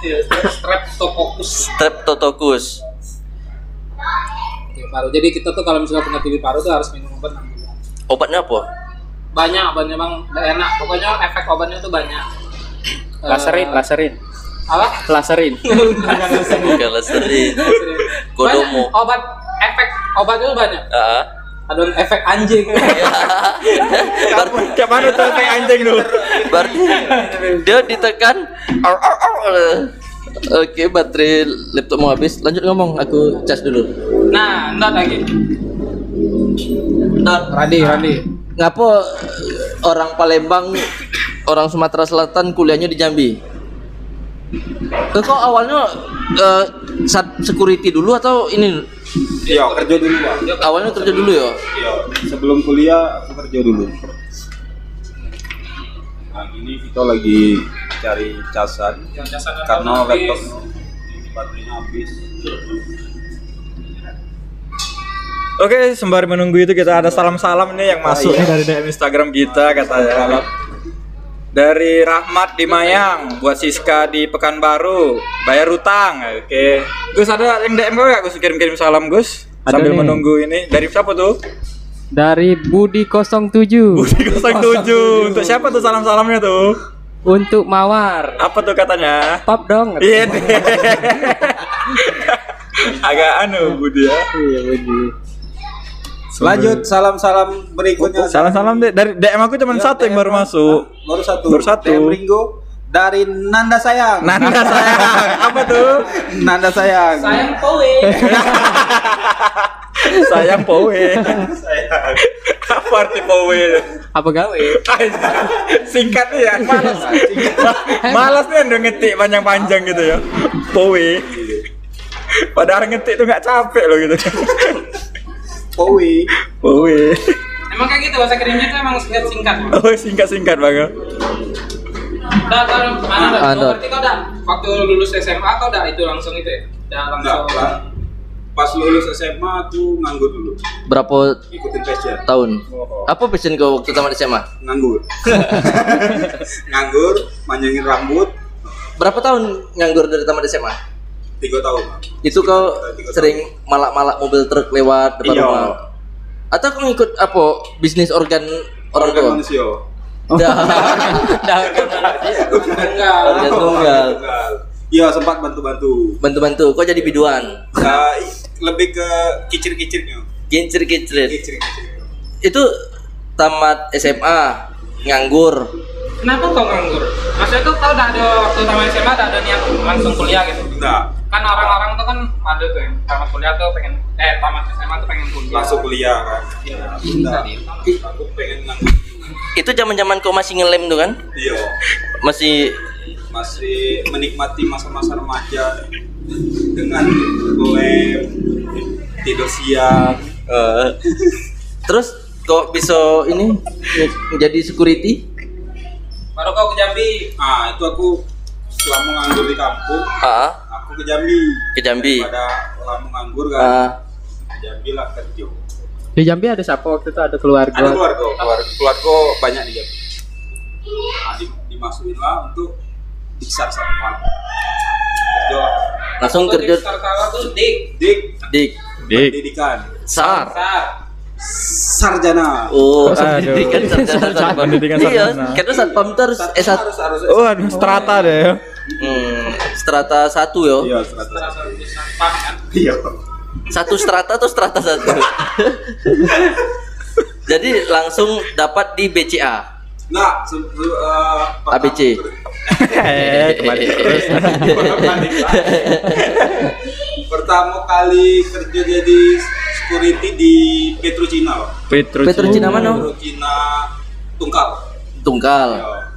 Speaker 3: Iya, Streptococcus
Speaker 1: Streptococcus.
Speaker 3: TV paru. Jadi kita tuh kalau misalnya punya TV paru tuh harus minum obat 6 bulan.
Speaker 1: Obatnya apa?
Speaker 3: banyak obatnya bang Nggak enak pokoknya efek obatnya tuh banyak Eh,
Speaker 4: Laserin, laserin.
Speaker 3: apa
Speaker 4: Laserin.
Speaker 3: Bukan laserin.
Speaker 1: Galaserin.
Speaker 3: Laserin.
Speaker 1: Kodomo.
Speaker 3: Banyak obat efek obat itu banyak
Speaker 1: Ah.
Speaker 3: ada efek anjing
Speaker 1: Bar-
Speaker 2: Kayak mana tuh kayak anjing lu?
Speaker 1: Berarti dia ditekan. Ar, ar, ar. Oke, baterai laptop mau habis. Lanjut ngomong, aku cas dulu.
Speaker 3: nah not lagi
Speaker 1: Nah,
Speaker 3: Randi Randi
Speaker 1: ngapa eh, orang Palembang, orang Sumatera Selatan kuliahnya di Jambi? Eh, Kok awalnya eh, sat- security dulu atau ini
Speaker 2: Iya, kerja dulu, Bang.
Speaker 1: awalnya kerja dulu ya?
Speaker 2: Iya, sebelum kuliah aku kerja dulu. Nah, ini kita lagi cari casan karena laptop baterainya habis. Oke, sembari menunggu itu kita ada salam-salam nih yang masuk nih dari DM Instagram kita katanya. Dari Rahmat di Mayang buat Siska di Pekanbaru, bayar utang. Oke. Gus ada yang DM kau gak Gus kirim-kirim salam Gus?
Speaker 4: Ada
Speaker 2: Sambil
Speaker 4: nih.
Speaker 2: menunggu ini dari siapa tuh?
Speaker 4: Dari Budi 07
Speaker 2: Budi 07 Untuk siapa tuh salam-salamnya tuh?
Speaker 4: untuk Mawar.
Speaker 2: Apa tuh katanya?
Speaker 4: Pop dong.
Speaker 2: Iya deh Agak anu Budi ya
Speaker 4: Iya, Budi.
Speaker 2: Lanjut
Speaker 6: salam-salam berikutnya
Speaker 2: Salam-salam deh Dari DM aku cuma satu yang baru masuk
Speaker 6: baru satu
Speaker 2: Baru satu. Nah.
Speaker 6: DM Ringo dari Nanda sayang
Speaker 2: Nanda sayang Apa tuh?
Speaker 6: Nanda sayang
Speaker 3: sayang kowe
Speaker 2: Sayang Powe Apa arti Powe?
Speaker 4: Apa gawe?
Speaker 2: Singkatnya ya Malas Malas nih udah ngetik panjang-panjang gitu ya Powe Padahal ngetik tuh nggak capek loh gitu.
Speaker 6: Owi.
Speaker 2: Oh, weh.
Speaker 3: Emang kayak gitu bahasa kerennya itu emang singkat-singkat.
Speaker 2: oh singkat-singkat bang.
Speaker 3: Udah, kalau mana dah?
Speaker 1: Ah,
Speaker 3: Kau
Speaker 1: dah.
Speaker 3: Berarti kau dah waktu lulus SMA kau dah itu langsung itu ya? Dah
Speaker 6: Enggak,
Speaker 3: langsung.
Speaker 6: Pak. Pas lulus SMA tuh nganggur dulu.
Speaker 1: Berapa
Speaker 6: Ikutin ya. passion.
Speaker 1: tahun? Apa passion kau waktu tamat SMA?
Speaker 6: Nganggur. nganggur, manjangin rambut
Speaker 1: Berapa tahun nganggur dari tamat SMA?
Speaker 6: 3 tahun.
Speaker 1: Itu kau sering malak-malak mobil truk lewat depan
Speaker 2: Iya.
Speaker 1: rumah. Atau kau ngikut apa bisnis organ orang
Speaker 6: Organ
Speaker 1: tua?
Speaker 6: manusia.
Speaker 1: Dah.
Speaker 6: Enggak.
Speaker 1: Organ tunggal.
Speaker 6: Iya, sempat bantu-bantu.
Speaker 1: Bantu-bantu, kau jadi biduan.
Speaker 6: Nah, i- lebih ke kicir-kicirnya.
Speaker 1: Kincir-kincir.
Speaker 6: Kicir-kicir.
Speaker 1: Itu tamat SMA nganggur.
Speaker 3: Kenapa kau nganggur? Maksudnya tuh kau dah ada waktu tamat SMA dah ada niat langsung kuliah gitu.
Speaker 6: Enggak,
Speaker 3: Kan orang-orang tuh kan ada tuh yang tamat kuliah tuh pengen eh tamat SMA tuh pengen kuliah.
Speaker 6: langsung kuliah kan.
Speaker 3: Iya.
Speaker 6: Enggak.
Speaker 1: I-
Speaker 6: Aku pengen nganggur.
Speaker 1: Itu zaman-zaman kau masih ngelem tuh kan?
Speaker 6: Iya.
Speaker 1: Masih
Speaker 6: Masih menikmati masa-masa remaja dengan boleh tidur siang.
Speaker 1: eh, terus kok bisa ini menjadi security?
Speaker 3: Baru kau ke Jambi.
Speaker 6: Ah, itu aku selama nganggur di kampung,
Speaker 1: Ah,
Speaker 6: aku ke Jambi.
Speaker 1: ke Jambi.
Speaker 6: Pada lama nganggur kan,
Speaker 1: Ah,
Speaker 6: ke Jambi lah kerja.
Speaker 4: Di Jambi ada siapa waktu itu ada keluarga?
Speaker 6: Ada keluarga, keluarga, keluarga banyak di Jambi. Nah, di- dimasukin lah untuk besar sama kerja lah.
Speaker 1: langsung
Speaker 3: Kau di
Speaker 1: kerja
Speaker 3: Sarkawa tuh dik.
Speaker 6: Dik,
Speaker 1: dik
Speaker 6: pendidikan,
Speaker 1: sar.
Speaker 3: Sar.
Speaker 6: sarjana.
Speaker 1: Oh,
Speaker 4: Aduh.
Speaker 1: pendidikan sarjana. sarjana.
Speaker 2: Pendidikan
Speaker 1: Iya,
Speaker 2: sarjana.
Speaker 1: karena satpam terus
Speaker 6: Sarjana
Speaker 4: Eh,
Speaker 1: S1
Speaker 6: harus harus
Speaker 2: Oh, aduh, strata deh.
Speaker 1: eh,
Speaker 2: ya.
Speaker 1: hmm, strata satu yo.
Speaker 6: Iya, sarjana.
Speaker 3: kan?
Speaker 6: Iya.
Speaker 1: Satu strata atau strata satu. Jadi langsung dapat di BCA.
Speaker 6: Nah, se- se- eh, pertama-
Speaker 1: ABC.
Speaker 2: Eh, kembali terus.
Speaker 6: Pertama kali kerja jadi security di Petrocina, Pak.
Speaker 2: Petrus.
Speaker 1: Petrocina mana?
Speaker 6: Petrocina Tungkal.
Speaker 1: Tunggal.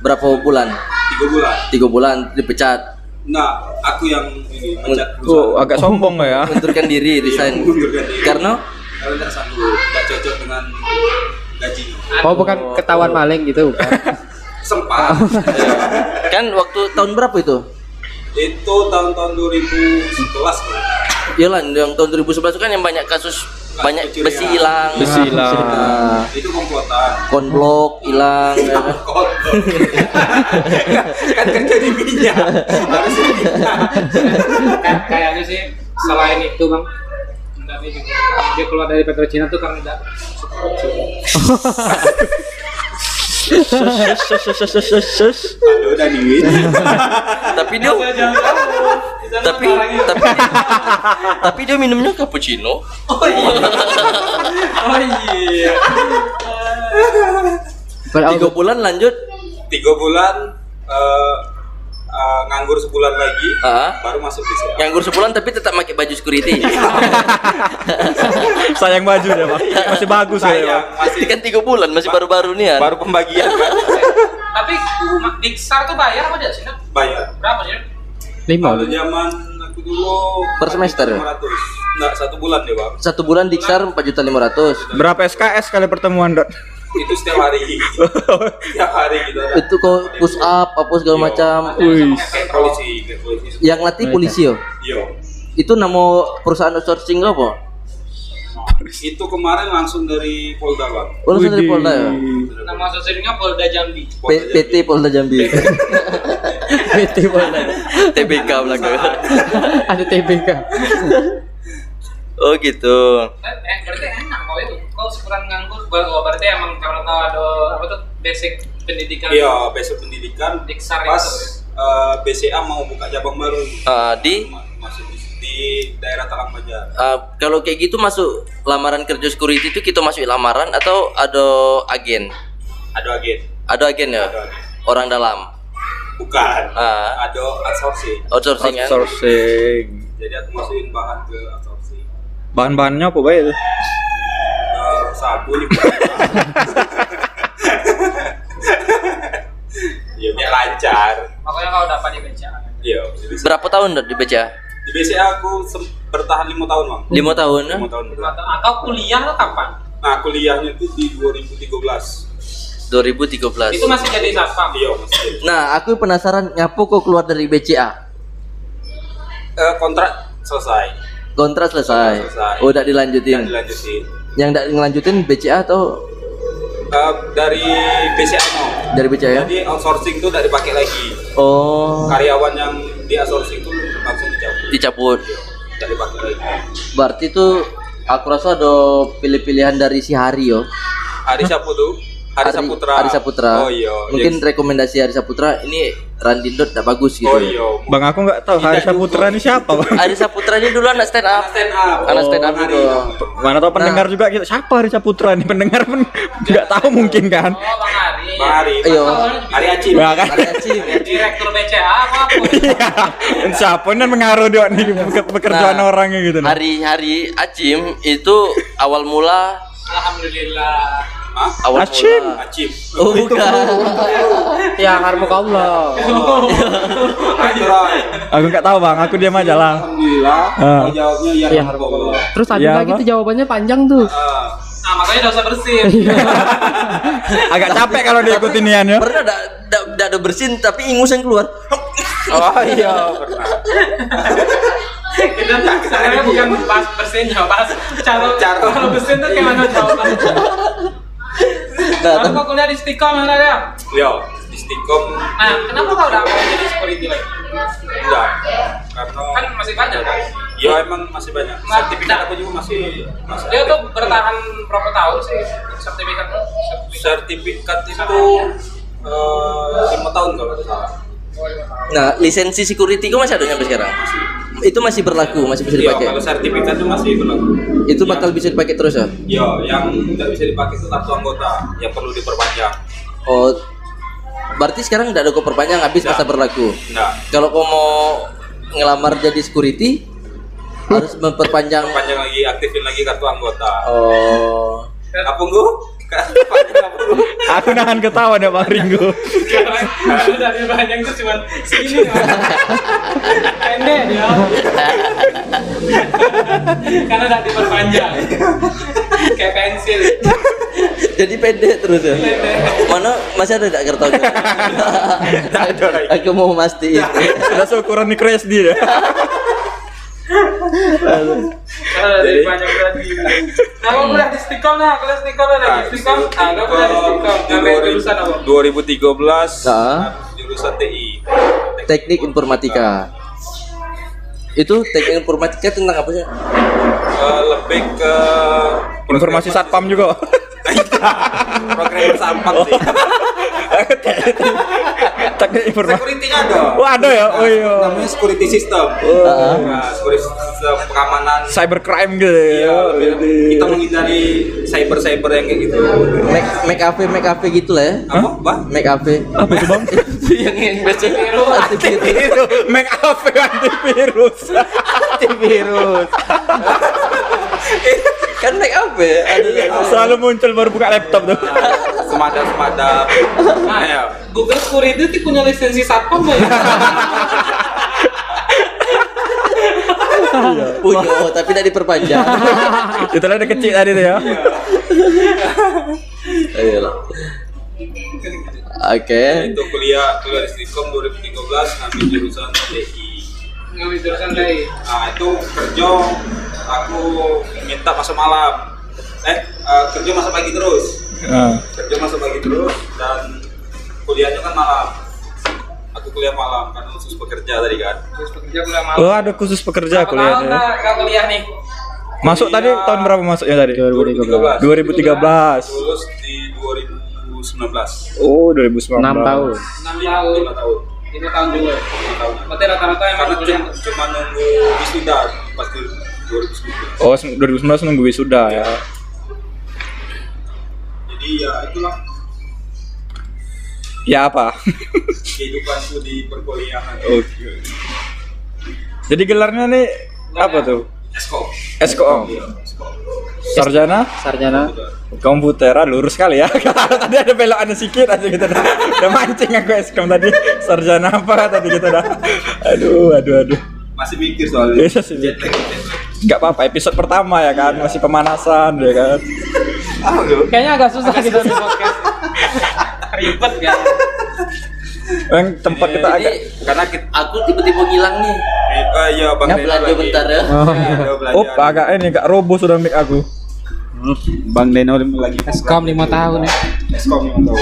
Speaker 1: Berapa bulan?
Speaker 6: Tiga bulan.
Speaker 1: Tiga bulan dipecat.
Speaker 6: Nah, aku yang ini mencat
Speaker 2: Oh,
Speaker 6: perusahaan.
Speaker 2: agak sombong ya.
Speaker 1: Mengundurkan diri, resign.
Speaker 6: Mengundurkan diri.
Speaker 1: Karena
Speaker 6: Karena tidak sanggup, tidak cocok dengan gajinya.
Speaker 4: Oh bukan ketahuan maling gitu. bukan.
Speaker 6: Sempat.
Speaker 1: kan waktu tahun berapa itu?
Speaker 6: Itu tahun-tahun 2011 Pak.
Speaker 1: Iyalah Iya, yang tahun 2011 itu kan yang banyak kasus banyak
Speaker 6: Pencurian.
Speaker 1: besi hilang,
Speaker 2: Besi lah.
Speaker 1: Ah,
Speaker 6: Itu komplotan.
Speaker 1: konblok hilang. ya kan?
Speaker 6: Kotor. kan kerja di minyak. Harus di minyak.
Speaker 3: Kayak- kayaknya sih selain itu bang tapi juga karena dia keluar dari Petrocina tuh karena tidak
Speaker 6: Aduh, udah duit.
Speaker 1: tapi dia
Speaker 3: Iya,
Speaker 1: tapi tapi tapi dia minumnya cappuccino.
Speaker 3: oh iya
Speaker 4: Padahal
Speaker 1: Tiga bulan lanjut.
Speaker 6: Tiga bulan eh, eh, nganggur sebulan lagi,
Speaker 1: Ah,
Speaker 6: baru masuk di sini.
Speaker 1: nganggur sebulan tapi tetap pakai baju security.
Speaker 2: Sayang baju deh, Pak. Masih bagus ya, Pak.
Speaker 6: Sayang, masih
Speaker 1: Ini kan tiga bulan masih baru-baru nih kan.
Speaker 6: baru pembagian kan?
Speaker 3: tapi Ma- Diksar tuh bayar apa tidak sih Nat?
Speaker 6: Bayar.
Speaker 3: berapa sih Nat?
Speaker 4: lima.
Speaker 6: Kalau zaman aku dulu
Speaker 1: Per semester? ya?
Speaker 6: 500. Enggak, satu bulan deh, Bang.
Speaker 1: Satu bulan diksar 4.500.
Speaker 2: Berapa SKS kali pertemuan, Dot?
Speaker 6: Itu setiap hari. setiap hari gitu. ada.
Speaker 1: Itu kok push up apa segala macam.
Speaker 6: Kayak polisi, kayak polisi. Iya.
Speaker 1: Yang latih polisi yo.
Speaker 6: Yo.
Speaker 1: Itu nama perusahaan outsourcing kau apa?
Speaker 6: Itu kemarin langsung dari Polda, Bang.
Speaker 1: Oh, langsung dari Polda ya?
Speaker 3: nama sosialnya Polda Jambi
Speaker 1: P PT Polda Jambi. PT Polda. TBK belakang.
Speaker 4: Ada TBK.
Speaker 1: Oh gitu.
Speaker 3: Eh, eh, berarti enak kau itu kau sekurang nganggur ber- oh, berarti emang karena kau ada apa tuh basic pendidikan
Speaker 6: Iya, besok pendidikan
Speaker 3: Diksar
Speaker 6: pas
Speaker 3: itu, ya?
Speaker 6: eh, BCA mau buka cabang baru
Speaker 1: Eh, di
Speaker 6: Ma- masuk di, di daerah Talang Banjar.
Speaker 1: eh, kalau kayak gitu masuk lamaran kerja security itu kita masuk lamaran atau ada agen?
Speaker 6: Ada agen,
Speaker 1: Ada agen ya?
Speaker 6: ada agen.
Speaker 1: Orang dalam.
Speaker 6: Bukan.
Speaker 1: Ah,
Speaker 6: Ada outsourcing.
Speaker 1: outsourcing kan?
Speaker 2: Outsourcing.
Speaker 6: Jadi aku masukin bahan ke outsourcing.
Speaker 2: Bahan-bahannya apa baik itu?
Speaker 6: Eh, sabu nih. Ya, biar lancar.
Speaker 3: makanya kau dapat di BCA
Speaker 6: Iya. jadi
Speaker 1: Berapa tahun Dot, di BCA?
Speaker 6: Di BCA aku sem- bertahan lima tahun bang
Speaker 1: ya? lima tahun ya?
Speaker 6: lima tahun bertahan
Speaker 3: Atau kuliah lo kapan?
Speaker 6: nah kuliahnya itu di 2013
Speaker 1: 2013
Speaker 3: Itu masih jadi satpam.
Speaker 6: iya mas
Speaker 1: nah aku penasaran ngapo kok keluar dari BCA
Speaker 6: Eh, kontrak selesai
Speaker 1: kontrak selesai
Speaker 6: Selesai.
Speaker 1: oh tidak dilanjutin
Speaker 6: dan dilanjutin
Speaker 1: yang tidak ngelanjutin BCA atau
Speaker 6: Eh, dari BCA mau
Speaker 1: dari BCA ya
Speaker 6: jadi outsourcing itu tidak dipakai lagi
Speaker 1: oh
Speaker 6: karyawan yang di outsourcing itu langsung dicabut
Speaker 1: dicabut
Speaker 6: tidak dipakai lagi
Speaker 1: berarti tuh aku rasa ada pilih-pilihan dari si Hari yo
Speaker 6: Hari Sapu tuh Hari Saputra
Speaker 1: Hari Saputra
Speaker 6: oh iya
Speaker 1: mungkin
Speaker 6: Yang-
Speaker 1: rekomendasi Hari Saputra ini Randindo tidak bagus gitu
Speaker 6: oh iya
Speaker 2: Bang aku nggak tahu Harisha Putra ini siapa bang.
Speaker 1: Hari Saputra ini dulu anak stand up
Speaker 6: stand up
Speaker 1: anak stand up
Speaker 6: Hari.
Speaker 1: gitu
Speaker 2: Mana tahu pendengar juga kita siapa Harisha Putra nih pendengar pun nggak tahu mungkin kan.
Speaker 3: Oh, Bang Ari.
Speaker 6: Bang Hari
Speaker 1: ayo
Speaker 6: Hari Acim
Speaker 2: Wah kan
Speaker 1: Hari Acim.
Speaker 3: Direktur BCA apa? apa?
Speaker 2: Iya. Dan siapa ini mengaruh dia nih pe- pekerjaan
Speaker 1: Nah,
Speaker 2: orangnya gitu. nih.
Speaker 1: Hari Hari Acim itu awal mula
Speaker 3: Alhamdulillah.
Speaker 6: Hah?
Speaker 1: awal
Speaker 2: Acim.
Speaker 1: mula
Speaker 6: Acim
Speaker 1: Oh, bukan.
Speaker 4: Ya karmukallah.
Speaker 6: Akhirai.
Speaker 2: Aku nggak tahu bang, aku diam aja lah.
Speaker 6: Alhamdulillah
Speaker 2: Ah.
Speaker 6: Mau jawabnya ya
Speaker 4: Iya.
Speaker 6: Alhamdulillah
Speaker 4: Terus ada
Speaker 2: Ya,
Speaker 4: lagi
Speaker 2: apa?
Speaker 4: tuh jawabannya panjang tuh.
Speaker 6: Ah,
Speaker 3: Nah, makanya udah usah bersin.
Speaker 2: Agak capek kalau diikutin Nian ya.
Speaker 1: pernah tidak tidak ada bersin tapi ingus yang keluar
Speaker 2: Oh iya.
Speaker 3: Kita sebenarnya bukan bahas bersinnya, bahas cara cara kalau bersin tuh gimana jawaban.
Speaker 1: Nah,
Speaker 3: Kalau kok kuliah di Stikom mana ya?
Speaker 6: Yo Di Stikom
Speaker 3: Nah, kenapa kau udah mau jadi security lagi?
Speaker 6: Enggak Karena
Speaker 3: Kan masih banyak kan?
Speaker 6: Ya emang masih banyak
Speaker 3: Nah,
Speaker 6: Sertifikat aku juga masih masih
Speaker 3: Dia
Speaker 6: ada.
Speaker 3: tuh bertahan berapa tahun sih sertifikat lo?
Speaker 6: Sertifikat itu eh, lima tahun kalau tidak salah
Speaker 1: nah lisensi security kok masih ada sampai sekarang itu masih berlaku masih bisa
Speaker 6: Iya,
Speaker 1: dipakai
Speaker 6: kalau sertifikat itu masih berlaku.
Speaker 1: itu bakal bisa dipakai terus ya
Speaker 6: Iya, yang nggak bisa dipakai itu kartu anggota yang perlu diperpanjang.
Speaker 1: oh berarti sekarang tidak ada koper panjang habis masa berlaku
Speaker 6: Nggak,
Speaker 1: kalau kau mau ngelamar jadi security harus memperpanjang
Speaker 6: perpanjang lagi, aktifin lagi kartu anggota.
Speaker 1: oh
Speaker 6: Apa nggu?
Speaker 2: Aku nahan ketawa deh Bang Ringo.
Speaker 3: Sekarang udah dia panjang tuh cuma segini. Bang. Pendek dia. Karena udah diperpanjang. Kayak pensil.
Speaker 1: jadi pendek terus ya mana masih ada tidak kertas aku mau mastiin
Speaker 2: Sudah seukuran nih Crash dia.
Speaker 3: Karena udah diperpanjang lagi. Nah, kau kuliah di Stikom nah, kuliah di Stikom ada di Stikom. Ah, kau kuliah di Stikom. Ngambil jurusan apa?
Speaker 6: 2013
Speaker 1: Nah.
Speaker 6: jurusan TI.
Speaker 1: teknik informatika itu teknik informatika tentang apa sih
Speaker 6: Eh, lebih ke
Speaker 2: Informasi satpam juga.
Speaker 6: program sampah sih.
Speaker 2: Tak ada informasi.
Speaker 6: Security ada.
Speaker 2: Wah ada ya. Oh iya.
Speaker 6: Namanya security system. Nah, security system pengamanan.
Speaker 2: Cyber crime gitu.
Speaker 6: Iya,
Speaker 2: ya.
Speaker 6: kita menghindari cyber-cyber yang kayak gitu.
Speaker 1: make make cafe make cafe gitu lah ya
Speaker 6: Apa, Bang?
Speaker 1: make cafe
Speaker 2: Apa itu bang?
Speaker 1: yang yang baca
Speaker 2: Itu make up ya, antivirus.
Speaker 4: Antivirus.
Speaker 1: kan make cafe ada
Speaker 2: Selalu muncul baru buka laptop tuh.
Speaker 6: semada semada
Speaker 2: Nah,
Speaker 6: ayo
Speaker 3: Google Security itu punya lisensi satpam nggak ya?
Speaker 1: punya oh, tapi tidak diperpanjang
Speaker 2: Itu lah ada kecil tadi tuh ya.
Speaker 1: Ayolah. oke
Speaker 6: itu kuliah kuliah di Stikom 2013 ngambil jurusan TI
Speaker 3: Ngambil jurusan dari
Speaker 6: nah itu kerja aku minta masa malam eh eh, kerja masa pagi terus
Speaker 2: Ah.
Speaker 6: kerja masa pagi terus dan kuliahnya kan malam aku kuliah malam karena khusus pekerja tadi kan
Speaker 3: terus bekerja kuliah malam.
Speaker 2: Oh ada khusus pekerja
Speaker 3: Berapa tahun
Speaker 2: kuliahnya.
Speaker 3: nggak nggak kuliah nih?
Speaker 2: Masuk tadi tahun berapa masuknya tadi?
Speaker 6: 2013.
Speaker 2: 2013.
Speaker 6: lulus di 2019
Speaker 2: Oh, 2019.
Speaker 4: 6 tahun.
Speaker 3: 6 tahun,
Speaker 6: lima tahun
Speaker 3: 5 tahun juga.
Speaker 6: lima tahun
Speaker 3: Berarti rata-rata emang
Speaker 6: karena
Speaker 3: kuliah.
Speaker 6: cuma, cuma nunggu wisuda pas di 2019
Speaker 2: Oh, se- 2019 nunggu wisuda ya.
Speaker 6: jadi ya itulah
Speaker 2: Ya apa?
Speaker 6: kehidupanku di perkuliahan
Speaker 2: Oke. Jadi gelarnya nih apa tuh?
Speaker 6: Eskom
Speaker 2: Eskom.
Speaker 6: Iya, Eskom.
Speaker 2: Sarjana
Speaker 4: Sarjana.
Speaker 2: komputeran lurus sekali ya. tadi ada belokan sedikit aja gitu dah. Udah mancing aku Eskom tadi. Sarjana apa tadi gitu dah. Aduh, aduh, aduh.
Speaker 6: masih mikir
Speaker 1: Eh.
Speaker 6: soalnya
Speaker 2: Biasa sih.
Speaker 6: Jet lag, jet lag.
Speaker 2: nggak apa-apa episode pertama ya kan masih pemanasan ya kan
Speaker 6: Ah,
Speaker 3: Kayaknya agak susah gitu di podcast. Ribet ya.
Speaker 2: yang tempat kita agak
Speaker 1: Ini karena kita- aku tiba-tiba ngilang nih.
Speaker 6: Eh, iya bang
Speaker 1: Ya
Speaker 6: Deno
Speaker 1: belanja
Speaker 6: lagi.
Speaker 1: bentar ya.
Speaker 4: Oh.
Speaker 6: Iya, belanja.
Speaker 2: Up, agak ini agak roboh sudah mic aku.
Speaker 6: Bang Deno lagi
Speaker 3: Eskom 5 tahun ya.
Speaker 6: Eskom yang tahu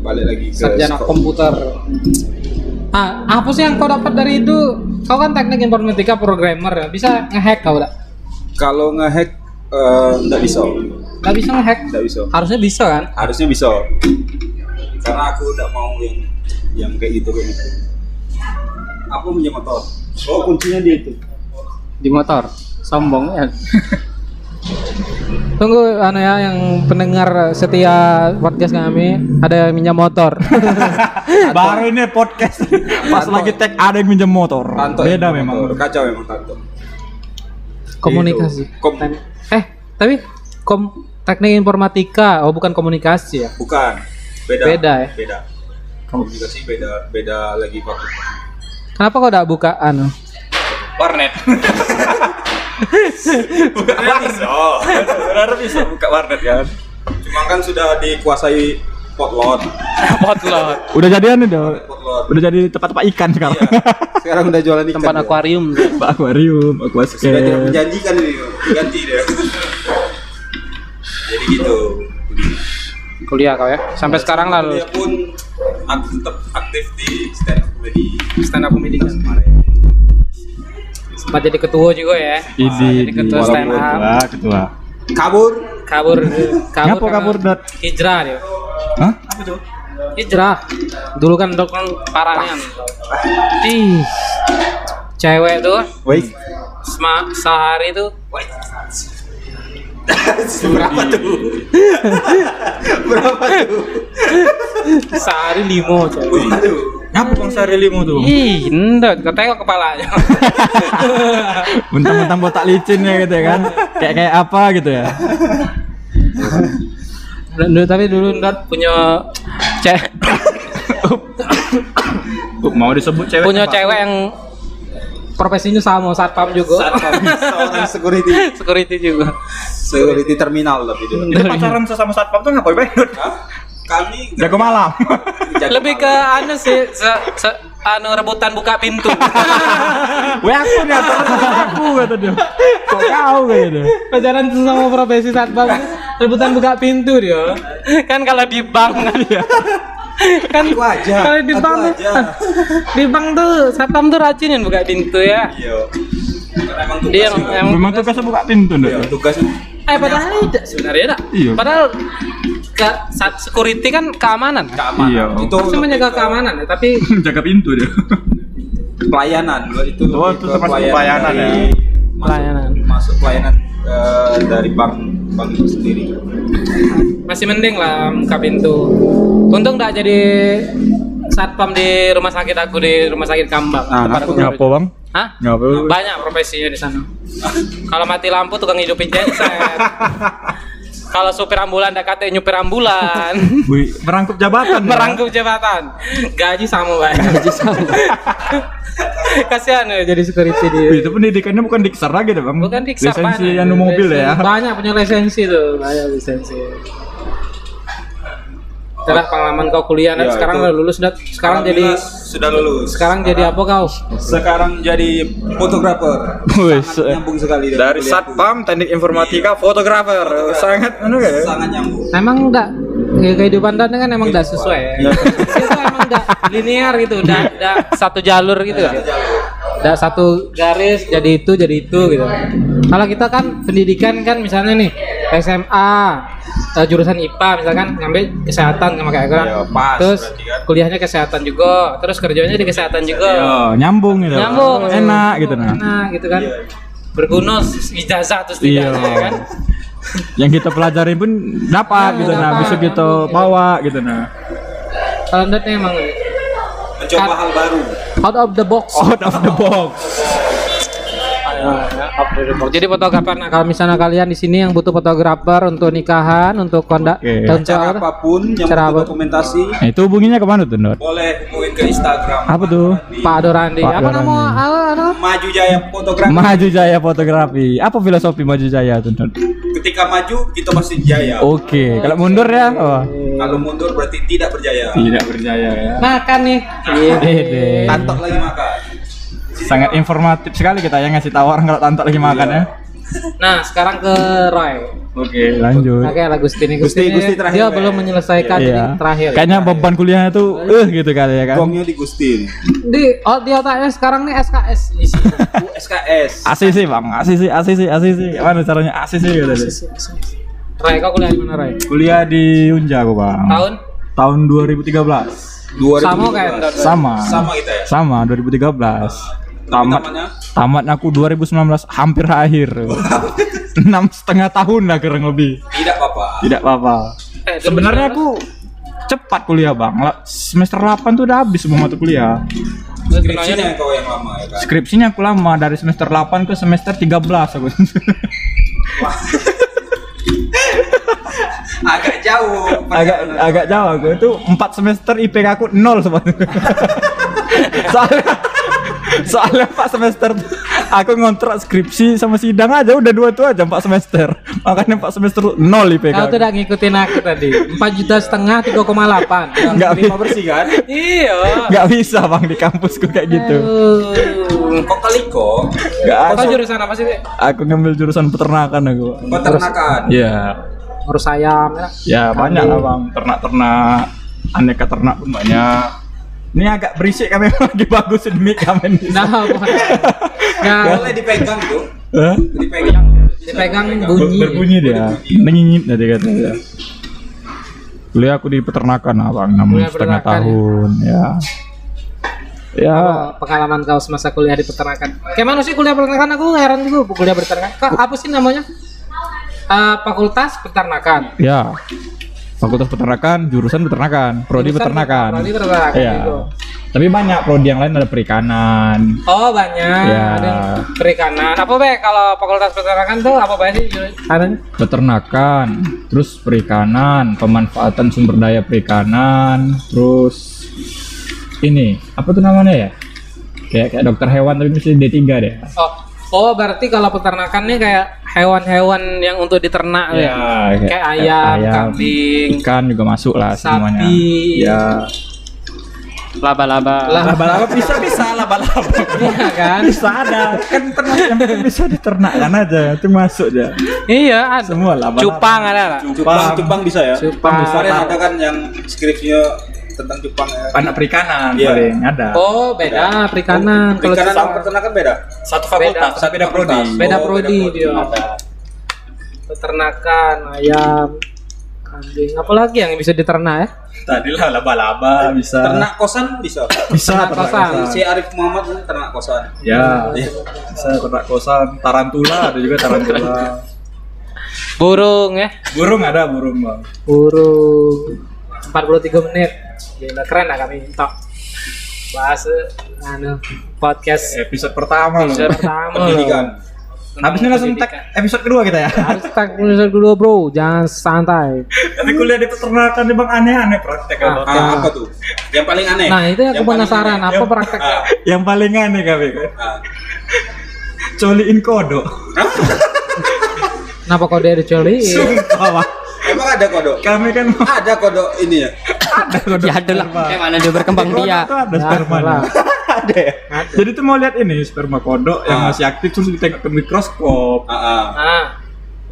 Speaker 6: balik lagi ke
Speaker 3: Sarjana
Speaker 6: Eskom.
Speaker 3: komputer. Ah, apa sih yang kau dapat dari itu? Kau kan teknik informatika programmer ya. Bisa ngehack kau enggak?
Speaker 6: kalau ngehack eh, nggak bisa
Speaker 3: Enggak bisa ngehack.
Speaker 6: nggak bisa
Speaker 3: Harusnya bisa kan?
Speaker 6: harusnya bisa karena aku nggak mau yang yang kayak gitu kayak gitu aku punya motor oh kuncinya di itu
Speaker 4: Di motor. Sombong ya.
Speaker 3: Tunggu anu ya yang pendengar setia podcast kami ada yang minjam motor.
Speaker 2: Baru ini podcast. Pas lagi tag ada yang minjem motor.
Speaker 6: tanto
Speaker 2: Beda
Speaker 6: yang
Speaker 2: memang.
Speaker 6: motor. kacau memang tanto
Speaker 3: Komunikasi.
Speaker 6: Gitu. Kom-
Speaker 3: Eh, tapi kom teknik informatika, oh bukan komunikasi ya.
Speaker 6: bukan beda
Speaker 3: Beda ya?
Speaker 6: beda komunikasi beda beda lagi waktu
Speaker 3: Kenapa kau enggak buka anu?
Speaker 2: Warnet.
Speaker 6: bukan bisa
Speaker 2: Benar bisa buka warnet kan.
Speaker 6: cuma kan sudah dikuasai potlot
Speaker 2: Udah jadian udah.
Speaker 6: potlot Iya.
Speaker 2: Udah jadi tempat-tempat ikan sekarang.
Speaker 6: sekarang udah jualan ikan
Speaker 4: Tempat
Speaker 6: dia.
Speaker 4: akuarium.
Speaker 2: Pak akuarium, aquascape.
Speaker 6: sudah tidak menjanjikan ini ganti deh jadi gitu
Speaker 3: Kuliah kau ya. Sampai sekarang lah lu.
Speaker 6: dia pun aku tetap aktif di stand up comedy
Speaker 3: Stand up comedy kan.
Speaker 6: kemarin
Speaker 3: Sempat jadi ketua juga ya.
Speaker 2: Ini
Speaker 3: jadi ketua stand up.
Speaker 2: ketua.
Speaker 6: kabur
Speaker 3: Kabur kabur.
Speaker 2: Ngapo kabur,
Speaker 3: karena
Speaker 2: Dot?
Speaker 3: Hijrah dia.
Speaker 2: Hah?
Speaker 3: Hijrah. Dulu kan dok kan parahnya.
Speaker 2: Ah.
Speaker 3: Ih. Cewek tuh
Speaker 2: Wait.
Speaker 3: sema- sehari tuh
Speaker 6: berapa tuh berapa tuh
Speaker 3: sehari limo coy.
Speaker 6: berapa tuh
Speaker 2: Ngapa Bang Sari limo tuh?
Speaker 3: Ih, ndak, kau tengok kepalanya.
Speaker 2: Mentang-mentang botak licin ya gitu ya kan. Kayak kayak apa gitu ya.
Speaker 3: Dulu, tapi dulu ndak punya cewek
Speaker 2: mau disebut cewek.
Speaker 3: punya cewek yang profesinya sama satpam juga,
Speaker 6: seorang security
Speaker 3: security juga.
Speaker 6: security terminal tapi dia
Speaker 2: pacaran sesama satpam tuh ngapain Bang?
Speaker 6: Hah? kami
Speaker 2: Jago malam.
Speaker 6: jago
Speaker 3: Lebih ke anu sih, se, se- anu rebutan buka pintu.
Speaker 2: Weh aku nih atau aku kata dia. Kok kau kayak gitu.
Speaker 3: Pacaran sama profesi satpam, rebutan buka pintu dia. Kan kalau di bank kan dia. kan
Speaker 6: Aku aja,
Speaker 3: kalau di
Speaker 6: aku
Speaker 3: bank tuh-
Speaker 6: aja.
Speaker 3: di bank tuh satpam tuh rajinin buka pintu ya.
Speaker 6: iya Kan emang tugas
Speaker 3: Dia yang, yang
Speaker 2: Memang tuh kasih buka pintu
Speaker 6: Iya,
Speaker 2: ndak?
Speaker 6: tugas
Speaker 3: Eh padahal tidak sebenarnya tidak.
Speaker 2: Iya.
Speaker 3: Padahal ke, saat security kan keamanan kan.
Speaker 6: keamanan
Speaker 2: Iya.
Speaker 6: itu
Speaker 3: Harusnya menjaga keamanan ya, tapi
Speaker 2: Jaga pintu dia.
Speaker 6: pelayanan itu
Speaker 2: Oh, itu
Speaker 6: lebih ke
Speaker 2: termasuk pelayanan ya.
Speaker 6: dari- masuk-
Speaker 3: Pelayanan.
Speaker 6: masuk pelayanan eh, dari bank bank itu sendiri
Speaker 3: masih mending lah buka pintu. Untung nggak jadi satpam di rumah sakit aku di rumah sakit Kambang.
Speaker 2: Ah,
Speaker 3: tempat
Speaker 6: Nah, aku
Speaker 3: kerja.
Speaker 2: Ngapa bang?
Speaker 3: Hah?
Speaker 2: Ngapa?
Speaker 3: Banyak profesinya di sana. Kalau mati lampu tukang hidupin genset. Kalau supir ambulan ndak kata nyupir ambulan.
Speaker 2: Wih, merangkup jabatan. ya?
Speaker 3: merangkup jabatan. Gaji sama banyak. Gaji sama. Kasihan ya jadi security dia.
Speaker 2: Wih, itu pendidikannya bukan diksar lagi deh bang.
Speaker 3: Bukan di Xapan,
Speaker 2: Lisensi
Speaker 3: ada.
Speaker 2: yang mobil ya.
Speaker 3: Banyak punya lisensi tuh, banyak lisensi. Itulah pengalaman kau kuliah, dan
Speaker 6: Ya,
Speaker 3: sekarang
Speaker 6: itu.
Speaker 3: udah lulus, dan sekarang jadi
Speaker 6: Alhamdulillah sudah lulus
Speaker 3: sekarang jadi apa kau?
Speaker 6: sekarang jadi fotografer
Speaker 2: Wih,
Speaker 6: sangat nyambung sekali dengan
Speaker 2: dari
Speaker 6: kuliahku.
Speaker 2: satpam teknik informatika fotografer Iya. sangat anu kayak
Speaker 6: sangat nyambung
Speaker 3: Emang enggak ya, kehidupan dan kan emang enggak sesuai ya. itu emang enggak linear gitu, enggak enggak satu jalur gitu. Enggak satu garis jadi itu jadi itu gitu. Kalau kita kan pendidikan kan misalnya nih SMA eh, jurusan IPA misalkan ngambil kesehatan sama kayak aku kan.
Speaker 6: Ya, pas
Speaker 3: terus
Speaker 6: berarti kan.
Speaker 3: kuliahnya kesehatan juga, terus kerjanya di kesehatan juga.
Speaker 2: Yo, nyambung gitu.
Speaker 3: Nyambung.
Speaker 2: Enak gitu nah.
Speaker 3: Enak gitu kan. Berguna ijazah terus
Speaker 2: Iya.
Speaker 3: tidak kan.
Speaker 2: Yang kita pelajari pun dapat
Speaker 3: Nah,
Speaker 2: gitu nah,
Speaker 3: dapat.
Speaker 2: bisa kita bawa gitu nah.
Speaker 3: Kalau enggak nih emang eh,
Speaker 6: mencoba
Speaker 3: Kat-
Speaker 6: hal baru
Speaker 3: out of the box.
Speaker 2: Out of the box.
Speaker 3: Off the record. Jadi fotografer nah, kalau misalnya kalian di sini yang butuh fotografer untuk nikahan, untuk kondak,
Speaker 2: Oke.
Speaker 3: untuk
Speaker 6: Cara
Speaker 3: apa?
Speaker 6: apapun yang
Speaker 3: Cara
Speaker 6: butuh
Speaker 3: apa?
Speaker 6: dokumentasi
Speaker 2: Nah, itu hubunginya kemana tuh, Dor?
Speaker 6: boleh hubungin ke Instagram.
Speaker 2: Apa tuh?
Speaker 6: Di
Speaker 3: Pak Dorandi.
Speaker 2: Pak
Speaker 3: Iya, Apa nama
Speaker 2: Dorandi.
Speaker 3: al- al-
Speaker 6: Maju Jaya Fotografi.
Speaker 2: Maju Jaya Fotografi. Apa filosofi Maju Jaya tuh, Dor?
Speaker 6: Ketika maju kita pasti jaya.
Speaker 2: Oh. Oke, kalau mundur ya, oh.
Speaker 6: Kalau mundur berarti tidak berjaya.
Speaker 2: Tidak berjaya ya.
Speaker 3: Makan nih.
Speaker 2: Ede.
Speaker 6: Tantok lagi makan.
Speaker 2: Iya. Sangat informatif sekali kita yang ngasih tahu orang kalau tantok lagi makan ya.
Speaker 3: Nah, sekarang ke Roy.
Speaker 2: Oke, lanjut.
Speaker 3: Oke, lah Gustini.
Speaker 6: Gusti-
Speaker 3: Gustini,
Speaker 6: Gusti terakhir,
Speaker 3: Dia
Speaker 6: Roy.
Speaker 3: belum menyelesaikan jadi
Speaker 2: Iya.
Speaker 3: Kan terakhir.
Speaker 2: Kayaknya beban kuliahnya tuh eh gitu kali ya kan.
Speaker 6: Gongnya di Gusti.
Speaker 3: Di, oh, di otaknya sekarang nih SKS.
Speaker 6: USKS.
Speaker 2: ACC bang, ACC, ACC, ACC. Gimana caranya ACC gitu?
Speaker 3: Roy, kau kuliah di mana Roy?
Speaker 2: Kuliah di Unja aku bang.
Speaker 3: Tahun?
Speaker 2: Tahun 2013.
Speaker 3: Sama kayak
Speaker 2: Sama.
Speaker 6: Sama kita ya.
Speaker 2: Sama 2013. Tamat
Speaker 6: Namanya
Speaker 2: tamat aku 2019 hampir akhir. Enam setengah tahun lah kurang lebih.
Speaker 6: tidak apa-apa.
Speaker 2: Tidak apa-apa.
Speaker 3: Eh,
Speaker 2: Sebenarnya aku cepat kuliah bang. La- Semester 8 tuh udah habis semua mata kuliah.
Speaker 6: Skripsinya yang kau yang lama ya kan.
Speaker 2: Skripsinya aku lama dari semester 8 ke semester 13 aku.
Speaker 6: Agak jauh.
Speaker 2: agak agak jauh aku itu 4 semester IPK aku 0 sebetulnya. soalnya soalnya 4 semester tuh aku ngontrak skripsi sama sidang aja udah dua itu aja 4 semester. Makanya 4 semester tuh 0 IPK.
Speaker 3: Kau
Speaker 2: aku.
Speaker 3: tuh udah ngikutin aku tadi. 4 juta setengah 3,8.
Speaker 2: Nggak bi-
Speaker 6: bersih kan?
Speaker 3: Iya.
Speaker 2: nggak bisa Bang di kampusku kayak gitu.
Speaker 6: Kok kaliko?
Speaker 2: Nggak
Speaker 3: Kau
Speaker 2: aku,
Speaker 3: jurusan apa sih? Dek?
Speaker 2: aku ngambil jurusan peternakan aku.
Speaker 6: Peternakan.
Speaker 2: Iya.
Speaker 3: Ngurus ayam ya.
Speaker 2: Ya banyak lah bang, ternak-ternak, aneka ternak pun banyak. Ini agak berisik kami lagi bagus demi kami ini.
Speaker 3: Nah, apa? nah
Speaker 6: Boleh dipegang tuh.
Speaker 2: Hah?
Speaker 6: Dipegang.
Speaker 3: dipegang
Speaker 2: Ber-
Speaker 3: bunyi.
Speaker 2: Berbunyi dia, menyinyit tadi katanya. Kuliah aku di peternakan lah bang, enam
Speaker 3: Kuliah
Speaker 2: setengah
Speaker 3: peternakan, ya.
Speaker 2: tahun ya. Ya,
Speaker 3: Apa pengalaman kau semasa kuliah di peternakan? Kayak mana sih kuliah peternakan? Aku heran juga kuliah peternakan. Kak, apa sih namanya? Eh, fakultas peternakan.
Speaker 2: ya. Fakultas peternakan, jurusan peternakan, prodi
Speaker 3: Jurusan
Speaker 2: peternakan.
Speaker 3: Prodi peternakan.
Speaker 2: Iya.
Speaker 3: gitu.
Speaker 2: Tapi banyak prodi yang lain ada perikanan,
Speaker 3: Oh banyak.
Speaker 2: Iya.
Speaker 3: Ada perikanan. Apa be? Kalau fakultas peternakan tuh apa banyak sih? jurus- Ada
Speaker 2: peternakan, terus perikanan, pemanfaatan sumber daya perikanan, terus ini apa tuh namanya ya? Kayak kayak dokter hewan tapi mesti D3 deh.
Speaker 3: Oh, oh berarti kalau peternakan nih kayak hewan-hewan yang untuk diternak
Speaker 2: Iya.
Speaker 3: ya. Kayak, ayam, kambing,
Speaker 2: ikan juga masuk lah semuanya.
Speaker 3: sapi,
Speaker 2: Ya.
Speaker 4: Laba-laba.
Speaker 3: lah
Speaker 2: Laba-laba bisa bisa laba-laba.
Speaker 3: iya kan?
Speaker 2: Bisa ada. Kan ternak yang penting bisa diternakkan aja, itu masuk aja.
Speaker 3: Iya, ada.
Speaker 2: Semua laba-laba.
Speaker 3: Cupang ada lah.
Speaker 6: Cupang, Cupang bisa ya?
Speaker 3: Cupang.
Speaker 6: Kemarin ada kan yang skripsinya tentang Cupang ya.
Speaker 2: Anak perikanan
Speaker 6: Iya.
Speaker 2: paling ada.
Speaker 3: Oh, beda perikanan. Kalau
Speaker 6: Perikanan sama
Speaker 3: cupang-
Speaker 6: peternakan beda?
Speaker 7: Satu
Speaker 3: beda,
Speaker 7: fakultas, tapi beda prodi.
Speaker 3: beda
Speaker 6: Oh,
Speaker 3: prodi
Speaker 6: beda prodi.
Speaker 3: dia. Peternakan, ayam, kambing, apalagi yang bisa diternak ya?
Speaker 2: Tadi lah laba-laba bisa.
Speaker 6: Ternak kosan bisa.
Speaker 2: bisa
Speaker 3: Ternak kosan.
Speaker 2: Ah.
Speaker 6: Si Arif Muhammad kan ternak kosan.
Speaker 2: Ya, bisa ternak kosan, tarantula ada juga tarantula.
Speaker 3: Burung ya?
Speaker 2: burung ada burung bang.
Speaker 3: Burung 43 menit. Gila keren lah kami top. Bahas eh, anu podcast
Speaker 2: Episode pertama loh.
Speaker 3: episode pertama.
Speaker 6: Pendidikan.
Speaker 2: Habis ini langsung tag episode kedua kita ya.
Speaker 3: Harus tak episode dulu bro, jangan santai.
Speaker 2: Tapi kuliah di peternakan di bang aneh-aneh praktek ya, Bang.
Speaker 6: Ah, apa tuh? Yang paling aneh.
Speaker 3: Nah itu yang aku
Speaker 6: Eh, Yang paling
Speaker 3: penasaran
Speaker 6: aneh.
Speaker 3: apa prakteknya?
Speaker 2: Yang paling aneh kami kan.
Speaker 6: Ah.
Speaker 2: Coliin kodo.
Speaker 3: Kenapa kau dari coli?
Speaker 2: Sumpah Bang.
Speaker 6: Emang ada kodok?
Speaker 2: Kami kan
Speaker 6: Ada kodok ini ya.
Speaker 2: ada kodo.
Speaker 4: Ya ada lah.
Speaker 2: sperma.
Speaker 4: Eh, mana dia berkembang
Speaker 2: Kodo
Speaker 4: biak.
Speaker 2: tuh ada
Speaker 3: Ya,
Speaker 2: sperma.
Speaker 3: lah.
Speaker 2: Ada ya? Jadi tuh mau lihat ini sperma kodok yang
Speaker 6: Ah.
Speaker 2: masih aktif terus ditengok ke mikroskop.
Speaker 6: Ah, ah.
Speaker 3: Ah,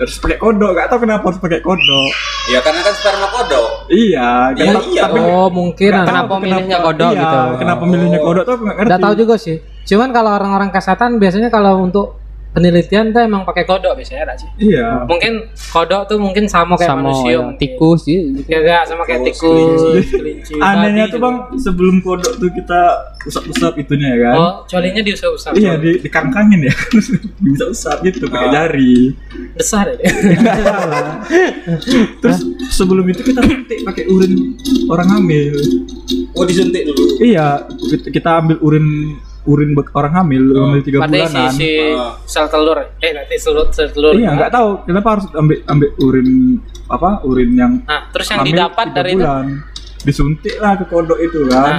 Speaker 2: Harus pakai kodok, gak tau kenapa harus pakai kodok.
Speaker 6: Ya karena kan sperma kodok.
Speaker 2: Iya,
Speaker 6: Iya,
Speaker 2: kenapa-
Speaker 6: iya.
Speaker 2: tapi
Speaker 3: oh mungkin.
Speaker 2: Nggak
Speaker 3: anu.
Speaker 2: tahu
Speaker 4: Kenapa milihnya kodok
Speaker 2: iya,
Speaker 4: gitu.
Speaker 2: Kenapa milihnya kodok tuh aku nggak ngerti.
Speaker 3: Nggak tahu juga sih. Cuman kalau orang-orang kesehatan biasanya kalau untuk penelitian tuh emang pakai kodok biasanya ada sih.
Speaker 2: Iya.
Speaker 3: Mungkin kodok tuh mungkin sama kayak
Speaker 4: Sama
Speaker 3: manusia.
Speaker 4: ya,
Speaker 3: mungkin.
Speaker 4: tikus sih.
Speaker 3: Ya enggak sama kayak
Speaker 6: Tikus,
Speaker 3: tikus, kelinci.
Speaker 2: Anehnya tuh
Speaker 3: babi gitu.
Speaker 2: bang, sebelum kodok tuh kita usap-usap itunya ya kan.
Speaker 3: Oh, colinya diusap-usap.
Speaker 2: Iya di, dikangkangin ya bisa usap gitu pakai
Speaker 3: Oh.
Speaker 2: jari.
Speaker 3: Besar ya. dia.
Speaker 2: Terus sebelum itu kita suntik pakai urin orang hamil.
Speaker 6: Oh disuntik dulu.
Speaker 2: Iya kita ambil urin urin bek- orang hamil
Speaker 3: Oh,
Speaker 2: hamil tiga
Speaker 3: Padahal si,
Speaker 2: bulanan
Speaker 3: si
Speaker 6: Ah.
Speaker 3: sel telur. Eh nanti sel, sel telur.
Speaker 2: iya nggak tahu kenapa harus ambil ambil urin apa urin yang
Speaker 3: Nah, terus yang
Speaker 2: hamil
Speaker 3: didapat
Speaker 2: tiga
Speaker 3: dari itu
Speaker 2: bulan. disuntik lah ke kodok itu
Speaker 3: Nah.
Speaker 2: kan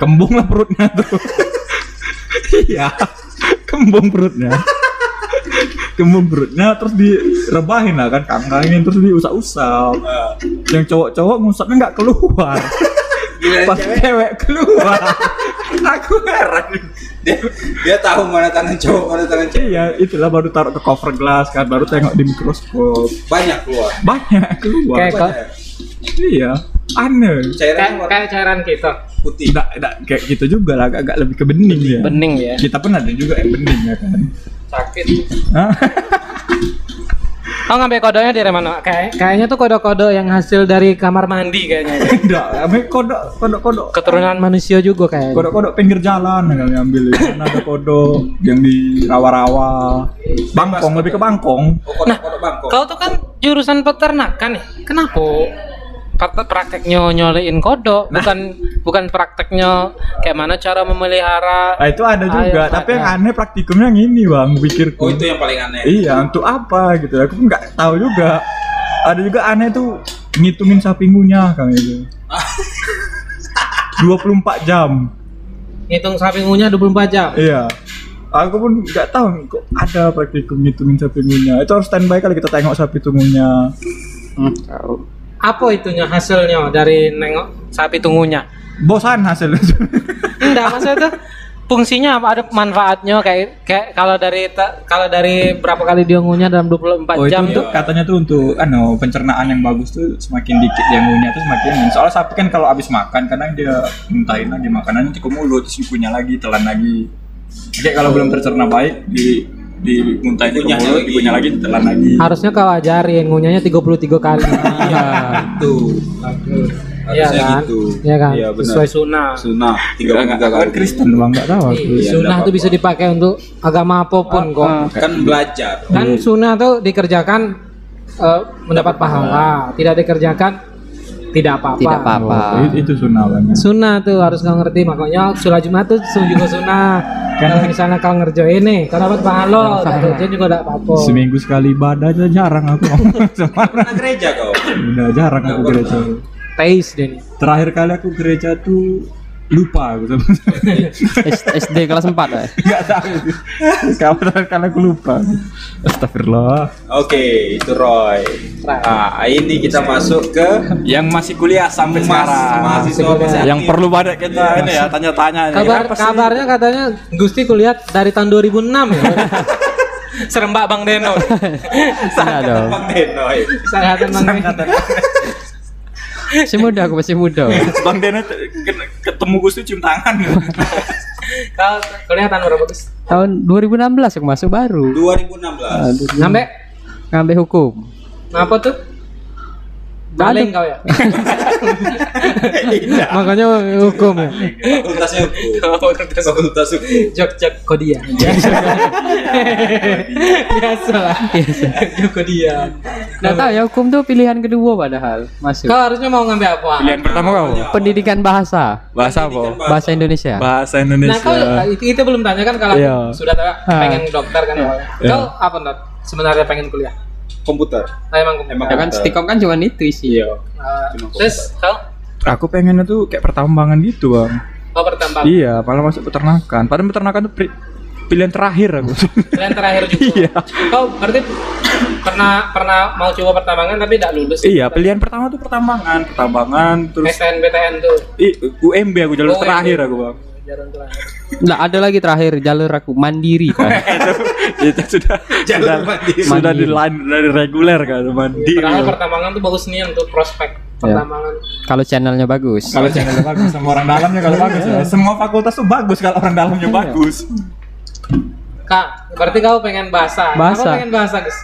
Speaker 2: kembung lah perutnya tuh iya kembung perutnya kembung perutnya terus direbahin lah kan kangkangin terus diusap-usap
Speaker 6: Ah.
Speaker 2: yang cowok-cowok ngusapnya nggak keluar pas cewek keluar aku heran
Speaker 6: dia, dia tahu mana tangan cowok mana tangan cewek
Speaker 2: iya itulah baru taruh ke cover glass kan baru tengok di mikroskop
Speaker 6: banyak keluar
Speaker 2: banyak keluar
Speaker 4: Kayak kok.
Speaker 2: iya aneh
Speaker 6: cairan
Speaker 3: kayak,
Speaker 6: warna
Speaker 3: kayak cairan kita.
Speaker 6: putih
Speaker 2: tidak tidak kayak gitu juga lah agak, agak lebih ke bening ya
Speaker 4: bening ya
Speaker 2: kita pun ada juga yang bening ya kan Ah,
Speaker 3: Sakit.
Speaker 2: Hah?
Speaker 3: Oh ngambil kodoknya dari mana? Kayak kayaknya tuh kode-kode yang hasil dari kamar mandi kayaknya.
Speaker 2: tidak kami kodok kodok kodok
Speaker 3: Keturunan manusia juga kayaknya.
Speaker 2: kodok kodok pinggir jalan yang kami ambil ya. Kan ada kodok yang di rawa-rawa bangkong lebih ke bangkong
Speaker 6: oh kodok kodok bangkok
Speaker 3: Kau tuh kan jurusan peternakan nih. Kenapa? Praktek prakteknya nyolein kodok,
Speaker 6: Nah.
Speaker 3: bukan bukan prakteknya kayak mana cara memelihara.
Speaker 2: nah, itu ada juga
Speaker 3: Ayo,
Speaker 2: tapi yang
Speaker 3: ada.
Speaker 2: aneh praktikumnya yang ini bang pikirku
Speaker 6: oh itu yang paling aneh
Speaker 2: iya untuk apa gitu aku pun nggak tahu juga ada juga aneh tuh ngitungin sapingunya kan itu 24 jam
Speaker 3: Hitung sapi ngunya 24 jam.
Speaker 2: Iya. Aku pun nggak tahu nih, kok ada praktikum ngitungin sapi ngunya. Itu harus standby kali kita tengok sapi tungunya.
Speaker 3: Apa itunya hasilnya dari nengok sapi tungunya?
Speaker 2: Bosan hasilnya.
Speaker 3: Enggak, maksudnya tuh fungsinya apa ada manfaatnya kayak kayak kalau dari ta- kalau dari berapa kali dia ngunya dalam 24
Speaker 6: Oh,
Speaker 3: jam
Speaker 2: Oh, untuk
Speaker 3: tuh
Speaker 2: katanya tuh untuk ano pencernaan yang bagus tuh semakin dikit dia ngunya tuh semakin ini. Soalnya sapi kan kalau habis makan kadang dia muntahin lagi makanannya ke mulut terus punya lagi telan lagi. Jadi kalau belum tercerna baik di di muntahin ke
Speaker 6: Dikunyah
Speaker 2: mulut,
Speaker 6: lagi.
Speaker 2: dikunyah lagi, ditelan lagi.
Speaker 3: harusnya kau ajarin ngunyanya 33 kali.
Speaker 2: Iya.
Speaker 6: itu harusnya
Speaker 3: kan?
Speaker 6: gitu
Speaker 3: Iya kan?
Speaker 6: iya benar
Speaker 3: Sesuai sunnah.
Speaker 6: sunnah tiga puluh tiga
Speaker 2: Kan
Speaker 6: kali
Speaker 2: Kristen bang nggak tahu. aku.
Speaker 3: Iya, Ah, sunnah
Speaker 6: enggak
Speaker 3: tuh bisa dipakai untuk agama apapun kok.
Speaker 6: kan belajar
Speaker 3: Kan sunnah tuh dikerjakan eh, mendapat pahala, tidak dikerjakan tidak apa-apa.
Speaker 4: tidak apa-apa
Speaker 8: Iya.
Speaker 2: Oh, itu- itu sunnah banget.
Speaker 3: Sunnah tuh harus kau ngerti makanya sholat Jumat tuh su- juga sunnah. Kalau misalnya kau ngerjain nih, kau dapat pahala, tak kerjain juga tidak
Speaker 8: Oh.
Speaker 3: apa-apa.
Speaker 2: Seminggu sekali ibadah aja jarang aku ngomong sama orang.
Speaker 6: pernah gereja kau
Speaker 2: Udah jarang aku gereja.
Speaker 3: Teis deh nih.
Speaker 2: Terakhir kali aku gereja tuh lupa aku sama
Speaker 4: S- SD kelas
Speaker 8: eh?
Speaker 4: 4 ya
Speaker 2: Enggak tahu. Kapan terakhir kali aku lupa. Astagfirullah.
Speaker 6: Oke, itu Roy. Nah, ini kita masuk ke
Speaker 8: Yang masih kuliah sampai
Speaker 6: mas mahasiswa masih
Speaker 8: Yang
Speaker 6: aktif.
Speaker 8: perlu banget kita ini ya tanya-tanya ini.
Speaker 3: Kabar
Speaker 8: Apa sih?
Speaker 3: kabarnya katanya Gusti kulihat dari tahun 2006 ya. Serem Mbak Bang Deno.
Speaker 4: Enggak dong
Speaker 6: Bang Denoy.
Speaker 8: eh.
Speaker 3: Sangatan Bang Deno.
Speaker 4: masih muda aku masih muda
Speaker 8: Bang Dena te- ken- ketemu Gus tuh cium tangan.
Speaker 3: Kau kelihatan berapa Gus?
Speaker 4: tahun 2016 aku masuk baru
Speaker 6: 2016.
Speaker 3: Sampai
Speaker 4: ngambil hukum
Speaker 3: Ngapa tuh? Baling kau ya?
Speaker 4: makanya hukum ya
Speaker 6: Fakultasnya hukum. Fakultas hukum.
Speaker 3: Jogja Kodia. Biasalah. Jogja Kodia.
Speaker 4: nggak tahu ya hukum tuh pilihan kedua padahal masuk
Speaker 3: Kau harusnya mau ngambil apa?
Speaker 8: Pilihan pertama kau.
Speaker 2: Iya.
Speaker 4: pendidikan bahasa
Speaker 8: Bahasa apa?
Speaker 4: bahasa Indonesia
Speaker 8: Bahasa
Speaker 3: Nah, kau
Speaker 8: Indonesia.
Speaker 3: itu, itu belum tanya kan kalau
Speaker 2: Iya.
Speaker 3: sudah tahu pengen dokter kan awalnya. Kau apa Nat? Sebenarnya pengen kuliah.
Speaker 6: Komputer.
Speaker 3: Nah, emang kamu.
Speaker 6: Emang
Speaker 4: ya kan stikom kan cuma itu sih
Speaker 3: Eh, terus kau
Speaker 2: Aku pengennya tuh kayak pertambangan gitu, Bang.
Speaker 3: mau bertambah.
Speaker 2: Iya, malah masuk peternakan. Padahal peternakan tuh pri- pilihan terakhir aku.
Speaker 3: Pilihan terakhir juga.
Speaker 2: Iya.
Speaker 3: Kau berarti pernah pernah mau coba pertambangan tapi tidak lulus.
Speaker 2: iya, pilihan pertama tuh pertambangan, pertambangan terus
Speaker 3: SNBTN tuh
Speaker 2: I, UMB aku jalur
Speaker 3: UMB.
Speaker 2: terakhir aku, Bang.
Speaker 3: jarang terakhir.
Speaker 4: nggak ada lagi terakhir jalur aku mandiri kan
Speaker 2: itu sudah sudah sudah di line dari reguler kan mandi
Speaker 3: Padahal pertambangan tuh bagus nih untuk
Speaker 2: Iya.
Speaker 3: prospek pertambangan.
Speaker 4: kalau channelnya bagus
Speaker 2: kalau channel bagus sama orang dalamnya kalau bagus ya. semua fakultas tuh bagus kalau orang dalamnya bagus
Speaker 3: Kak, berarti kau pengen bahasa.
Speaker 4: Bahasa.
Speaker 3: Apa pengen bahasa, Gus?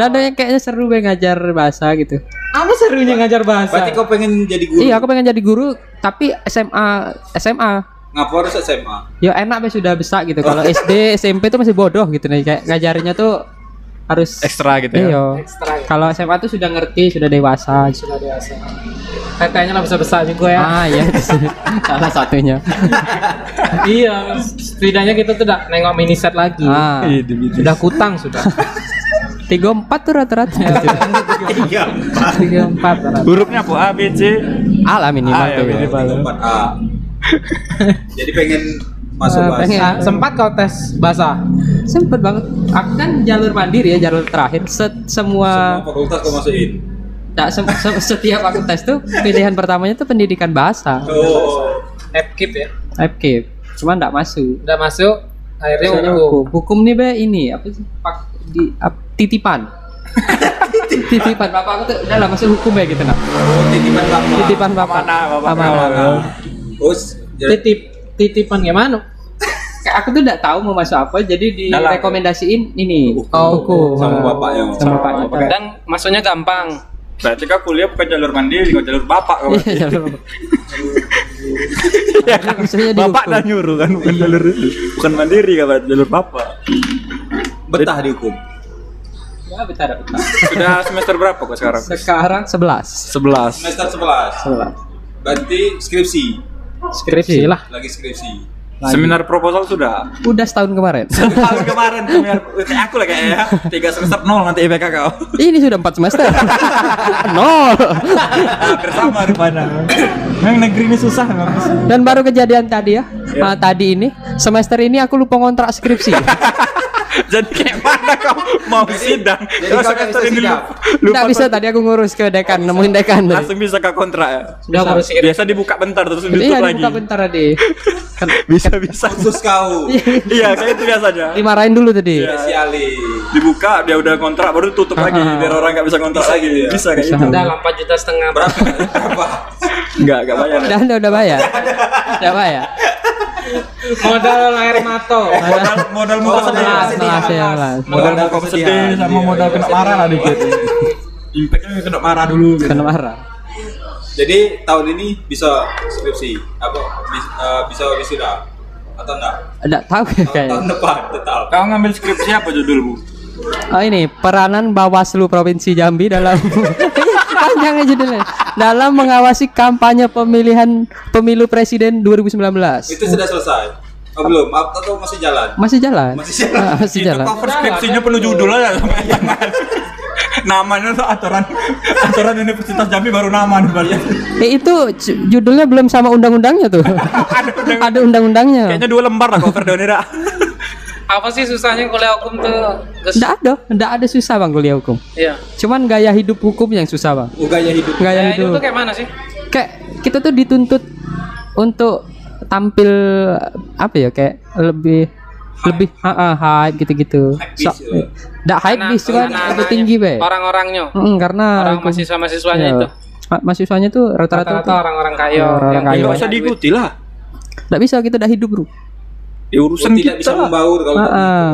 Speaker 4: lah ada yang kayaknya seru be ngajar bahasa gitu
Speaker 3: Apa serunya ngajar bahasa?
Speaker 6: Berarti kau pengen jadi guru?
Speaker 4: iya aku pengen jadi guru tapi SMA SMA
Speaker 6: Ngapa harus SMA?
Speaker 4: ya enak be sudah besar gitu kalau SD SMP tuh masih bodoh gitu nih kayak ngajarinnya tuh harus
Speaker 8: Ekstra gitu ya.
Speaker 4: iya
Speaker 3: Ekstra ya.
Speaker 4: kalau SMA tuh sudah ngerti sudah dewasa gitu.
Speaker 3: Sudah dewasa. Katanya lah besar-besar juga ya.
Speaker 4: Ah iya, salah satunya.
Speaker 3: iya, setidaknya kita tuh udah nengok mini set lagi.
Speaker 4: Ah,
Speaker 2: Iya,
Speaker 9: Ih, demi Yesus.
Speaker 3: Sudah kutang sudah.
Speaker 4: tiga empat tuh rata-rata.
Speaker 3: Tiga empat. Rat.
Speaker 9: Hurufnya apa? A, B, C.
Speaker 4: Alah iya, minimal
Speaker 9: Ah, ya,
Speaker 4: tuh.
Speaker 9: minimal.
Speaker 6: Empat A. Jadi pengen masuk
Speaker 4: Ah,
Speaker 6: bahasa.
Speaker 4: pengen.
Speaker 3: Sa- sempat kau tes bahasa?
Speaker 4: Sempet banget. Aku kan jalur mandiri ya, jalur terakhir. Set semua
Speaker 6: Semua fakultas kau masukin.
Speaker 4: tak sem- se- setiap aku tes tuh pilihan pertamanya tuh pendidikan bahasa.
Speaker 6: Oh.
Speaker 3: Epkip ya.
Speaker 4: FK. Cuman enggak masuk.
Speaker 3: Udah masuk akhirnya
Speaker 4: Soalnya
Speaker 3: hukum.
Speaker 4: hukum. Hukum nih be ini apa sih? Pak di ap- titipan. titipan bapak aku tuh udah lah masuk hukum ya gitu nah.
Speaker 6: Oh, titipan bapak.
Speaker 4: Titipan bapak.
Speaker 9: Amanah, bapak.
Speaker 4: Amanah.
Speaker 9: Amanah.
Speaker 6: Terus jadi
Speaker 3: Titip titipan gimana?
Speaker 4: Kayak aku tuh enggak tahu mau masuk apa jadi direkomendasiin ini. Oh,
Speaker 6: Hukum. Sama bapaknya.
Speaker 4: Sama bapaknya.
Speaker 5: Dan masuknya gampang.
Speaker 2: Berarti kau kuliah bukan jalur mandiri, kau jalur bapak kau.
Speaker 4: Iya, jalur bapak. Maksudnya di
Speaker 9: Bapak dah nyuruh kan
Speaker 2: Iya.
Speaker 9: bukan jalur itu. Bukan mandiri kan berarti jalur bapak.
Speaker 6: betah dihukum.
Speaker 4: Ya, bentar, bentar.
Speaker 2: Sudah semester berapa kau sekarang?
Speaker 4: Sekarang 11.
Speaker 9: 11.
Speaker 6: Semester 11.
Speaker 4: 11.
Speaker 6: Berarti skripsi,
Speaker 3: Skripsi lah.
Speaker 6: lagi skripsi.
Speaker 2: Seminar proposal sudah.
Speaker 4: Udah setahun kemarin.
Speaker 2: Tahun kemarin seminar aku lah kayaknya ya. Tiga semester nol nanti IPK kau.
Speaker 4: Ini sudah 4 semester. Nol.
Speaker 2: Hampir sama
Speaker 9: Mana? Memang negeri ini susah memang.
Speaker 4: Dan baru kejadian tadi ya.
Speaker 2: Iya.
Speaker 4: Ah, tadi ini semester ini aku lupa kontrak skripsi.
Speaker 2: Jadi kayak mana kau mau sidang?
Speaker 6: jadi
Speaker 2: Kau
Speaker 6: kau nggak
Speaker 2: semester
Speaker 6: bisa
Speaker 2: ini
Speaker 6: sidang?
Speaker 2: lu- lupa
Speaker 4: Enggak bisa tadi aku ngurus ke dekan, nemuin dekan tadi.
Speaker 2: langsung bisa kau kontrak ya.
Speaker 3: Udah harus
Speaker 2: Biasa dibuka bentar terus ditutup
Speaker 4: Iya,
Speaker 2: lagi.
Speaker 4: dibuka bentar tadi.
Speaker 2: Bisa bisa.
Speaker 6: Khusus kau.
Speaker 2: Iya, kayak itu biasanya.
Speaker 4: Dimarahin dulu tadi.
Speaker 2: Iya.
Speaker 6: Spesialis.
Speaker 2: Dibuka dia udah kontrak baru tutup lagi biar orang nggak bisa kontrak lagi.
Speaker 6: iya.
Speaker 2: Ah. Bisa kayak gitu.
Speaker 3: Udah
Speaker 4: Hmm.
Speaker 3: lah, 4 juta setengah.
Speaker 6: Berapa? Berapa?
Speaker 2: Enggak, enggak bayar.
Speaker 4: Udah, udah, udah bayar. Udah bayar.
Speaker 3: Modal air mata.
Speaker 2: Modal modal muka sedih.
Speaker 4: Kelas, kelas ya, kelas.
Speaker 2: Iya.
Speaker 9: Modal muka sedih sama modal kena marah lah dikit.
Speaker 6: Impactnya kena marah dulu.
Speaker 4: Kena marah.
Speaker 6: Jadi tahun ini bisa skripsi apa bis- eh, bisa wisuda atau enggak?
Speaker 4: Enggak tahu ya
Speaker 6: Tahun,
Speaker 4: kayaknya.
Speaker 6: tahun depan tetap.
Speaker 2: Kau ngambil skripsi apa judulmu?
Speaker 4: Oh ini peranan Bawaslu Provinsi Jambi dalam panjang aja judulnya dalam mengawasi kampanye pemilihan pemilu presiden 2019
Speaker 6: Itu sudah selesai. Oh, belum, Apa- atau masih jalan?
Speaker 4: masih jalan
Speaker 6: Masih jalan.
Speaker 4: Ah, masih jalan
Speaker 2: Cover skripsinya penuh judul aja sampai tangan. Namanya tuh aturan aturan Universitas Jambi baru nama nih baru.
Speaker 4: eh, itu ju- judulnya belum sama undang-undangnya tuh ada undang-undangnya
Speaker 2: Kayaknya dua lembar lah cover Doni Ra.
Speaker 3: Apa sih susahnya kuliah hukum tuh? Gus?
Speaker 4: enggak ada enggak ada susah bang kuliah hukum
Speaker 3: Iya.
Speaker 4: cuman gaya hidup hukum yang susah bang
Speaker 6: Ugaya hidup.
Speaker 4: gaya
Speaker 3: Ya, itu
Speaker 4: hidup
Speaker 3: tuh kayak mana sih?
Speaker 4: kayak kita tuh dituntut untuk tampil apa ya kayak lebih lebih ah ah, hype gitu-gitu.
Speaker 6: bis ya.
Speaker 4: Enggak hype
Speaker 3: Nah,
Speaker 4: bis cuma lebih tinggi
Speaker 3: ya.
Speaker 4: be.
Speaker 3: Orang-orangnya.
Speaker 4: Mm, karena
Speaker 3: Orang
Speaker 4: aku-
Speaker 3: mahasiswa-mahasiswanya
Speaker 4: ya.
Speaker 3: itu.
Speaker 4: Ma- mahasiswanya tuh rata-rata
Speaker 3: Rata-rata
Speaker 4: tuh
Speaker 3: orang-orang kaya. yang
Speaker 4: Orang-orang
Speaker 3: Ya,
Speaker 4: kaya.
Speaker 2: Enggak
Speaker 3: punya
Speaker 2: usah
Speaker 3: duit.
Speaker 2: diikuti lah.
Speaker 4: enggak gitu, bisa kita udah hidup, Bro.
Speaker 2: Ya urusan
Speaker 6: tidak bisa
Speaker 2: kita lah.
Speaker 6: membaur kalau
Speaker 4: Heeh.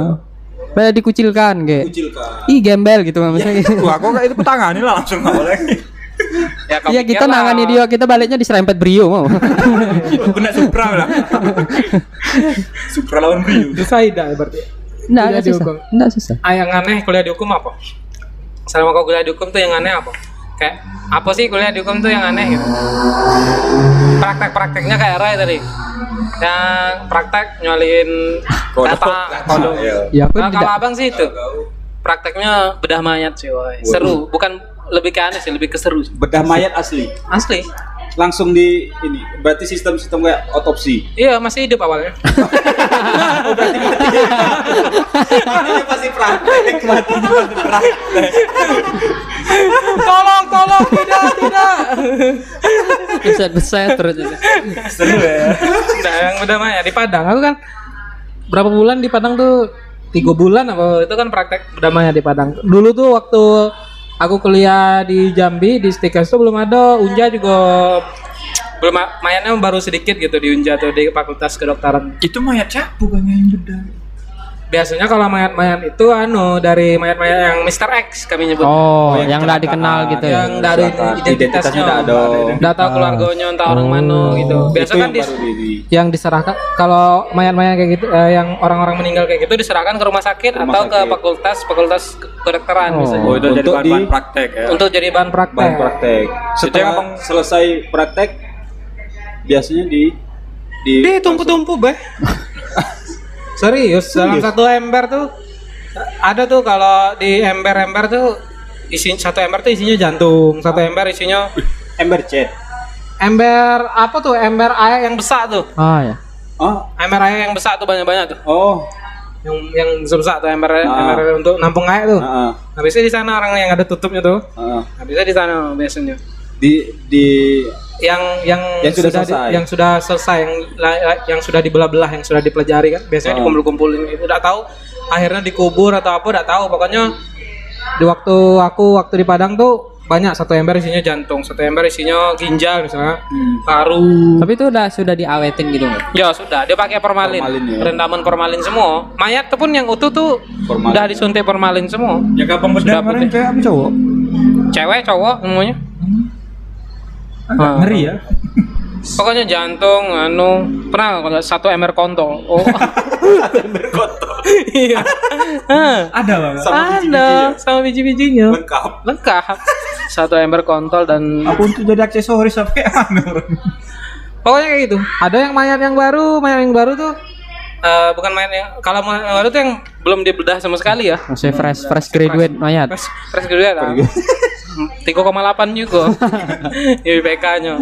Speaker 4: Banyak dikucilkan kayak.
Speaker 6: kecil kan.
Speaker 4: Ih, gembel gitu maksudnya. gitu.
Speaker 2: Wah, kok kayak itu petangani lah langsung nggak boleh.
Speaker 3: Ya, kau
Speaker 4: Iya, kita
Speaker 3: pikir lah.
Speaker 4: nangani dia, kita baliknya diserempet brio mau.
Speaker 2: Kena Supra lah. Supra lawan Rio.
Speaker 3: Susah tidak berarti.
Speaker 4: Enggak
Speaker 3: Tidak
Speaker 4: enggak susah.
Speaker 3: dihukum.
Speaker 4: Enggak susah.
Speaker 3: Ah, yang aneh kuliah di hukum apa? Selama kau kuliah di hukum tuh yang aneh apa? Kayak apa sih kuliah di hukum tuh yang aneh gitu? Praktek-prakteknya kayak Ray tadi. Yang praktek nyolin data
Speaker 2: Ah,
Speaker 3: kodok.
Speaker 6: Iya.
Speaker 4: Ya aku
Speaker 3: Nah,
Speaker 4: tidak
Speaker 3: kalau abang sih itu prakteknya bedah mayat sih, woy. seru. Bukan lebih ke aneh sih, lebih ke seru. sih.
Speaker 6: Bedah mayat asli.
Speaker 3: Asli.
Speaker 6: Langsung di ini. Berarti sistem-sistem kayak otopsi.
Speaker 3: Iya masih hidup awalnya.
Speaker 6: Ini pasti praktek.
Speaker 3: tolong, tolong, tidak, tidak.
Speaker 4: beset-beset terus.
Speaker 3: Nah, yang bedah mayat di Padang, aku kan berapa bulan di Padang tuh tiga bulan apa itu kan praktek bedah mayat di Padang. Dulu tuh waktu aku kuliah di Jambi di Stikers tuh belum ada Unja juga belum mayatnya baru sedikit gitu di Unja tuh di Fakultas Kedokteran.
Speaker 2: Itu mayat siapa bang yang bedah?
Speaker 3: biasanya kalau mayat-mayat itu anu dari mayat-mayat yang Mr. X kami nyebut.
Speaker 4: Oh, yang nggak dikenal gitu ya.
Speaker 3: yang dari Ah, identitasnya Ah.
Speaker 2: tidak ada.
Speaker 3: Enggak tahu keluarganya entah orang mana gitu. Biasa kan dis- yang diserahkan kalau mayat-mayat kayak gitu eh, yang orang-orang meninggal kayak gitu diserahkan ke rumah sakit atau ke fakultas fakultas ke- kedokteran misalnya.
Speaker 2: Oh, itu jadi
Speaker 6: Untuk
Speaker 2: bahan-bahan
Speaker 6: di-
Speaker 2: praktek ya.
Speaker 3: Untuk jadi Oh, bahan praktek.
Speaker 6: bahan praktek.
Speaker 2: Itu yang
Speaker 6: Setelah
Speaker 2: abang-
Speaker 6: selesai praktek biasanya di di
Speaker 3: Dia tumpu-tumpu beh. Serius, dalam satu ember tuh ada tuh kalau di ember-ember tuh isi satu ember tuh isinya jantung, satu ember isinya
Speaker 6: ember chat.
Speaker 3: ember apa tuh ember air yang besar tuh.
Speaker 4: Ah ya.
Speaker 6: Oh,
Speaker 3: Ember air yang besar tuh banyak-banyak tuh.
Speaker 6: oh.
Speaker 3: Yang yang besar tuh ember
Speaker 6: Ah.
Speaker 3: ember untuk nampung air tuh.
Speaker 6: Heeh.
Speaker 3: Habisnya di sana orang yang ada tutupnya tuh.
Speaker 6: heeh.
Speaker 3: Habisnya di sana biasanya.
Speaker 6: ah. Di di
Speaker 3: Yang yang,
Speaker 6: Yang sudah
Speaker 3: di-
Speaker 6: selesai.
Speaker 3: yang sudah selesai yang la- la- yang sudah dibelah-belah yang sudah dipelajari kan biasanya
Speaker 6: Ah.
Speaker 3: dikumpul-kumpulin gitu enggak tahu akhirnya dikubur atau apa enggak tahu pokoknya di waktu aku waktu di Padang tuh banyak satu ember isinya jantung, satu ember isinya ginjal misalnya,
Speaker 6: Hmm.
Speaker 3: paru.
Speaker 4: Tapi itu udah sudah diawetin gitu nggak?
Speaker 3: Ya sudah, dia pakai formalin,
Speaker 6: Formalin, ya.
Speaker 3: rendaman formalin semua. Mayat tuh pun yang utuh tuh
Speaker 6: Formalin.
Speaker 3: udah disuntik formalin semua.
Speaker 9: Jaga pembedah kemarin cewek apa cowok?
Speaker 3: Cewek, cowok semuanya. Ah.
Speaker 9: Agak ngeri ya.
Speaker 3: Pokoknya jantung, anu pernah nggak kalau satu MR kontol. Oh. Iya. Hah,
Speaker 9: Ada banget.
Speaker 3: Ada Ah, sama biji-bijinya.
Speaker 6: lengkap.
Speaker 3: Lengkap. Satu ember kontol dan
Speaker 9: Aku untuk jadi aksesoris apa kayak mana orang?
Speaker 3: pokoknya kayak gitu. Ada yang mayat yang baru, mayat yang baru tuh eh, bukan mayat yang kalau mayat yang baru tuh yang belum dibedah sama sekali ya.
Speaker 4: Masih fresh fresh graduate mayat.
Speaker 3: Fresh fresh kan? graduate lah. 3,8 juga IPK-nya.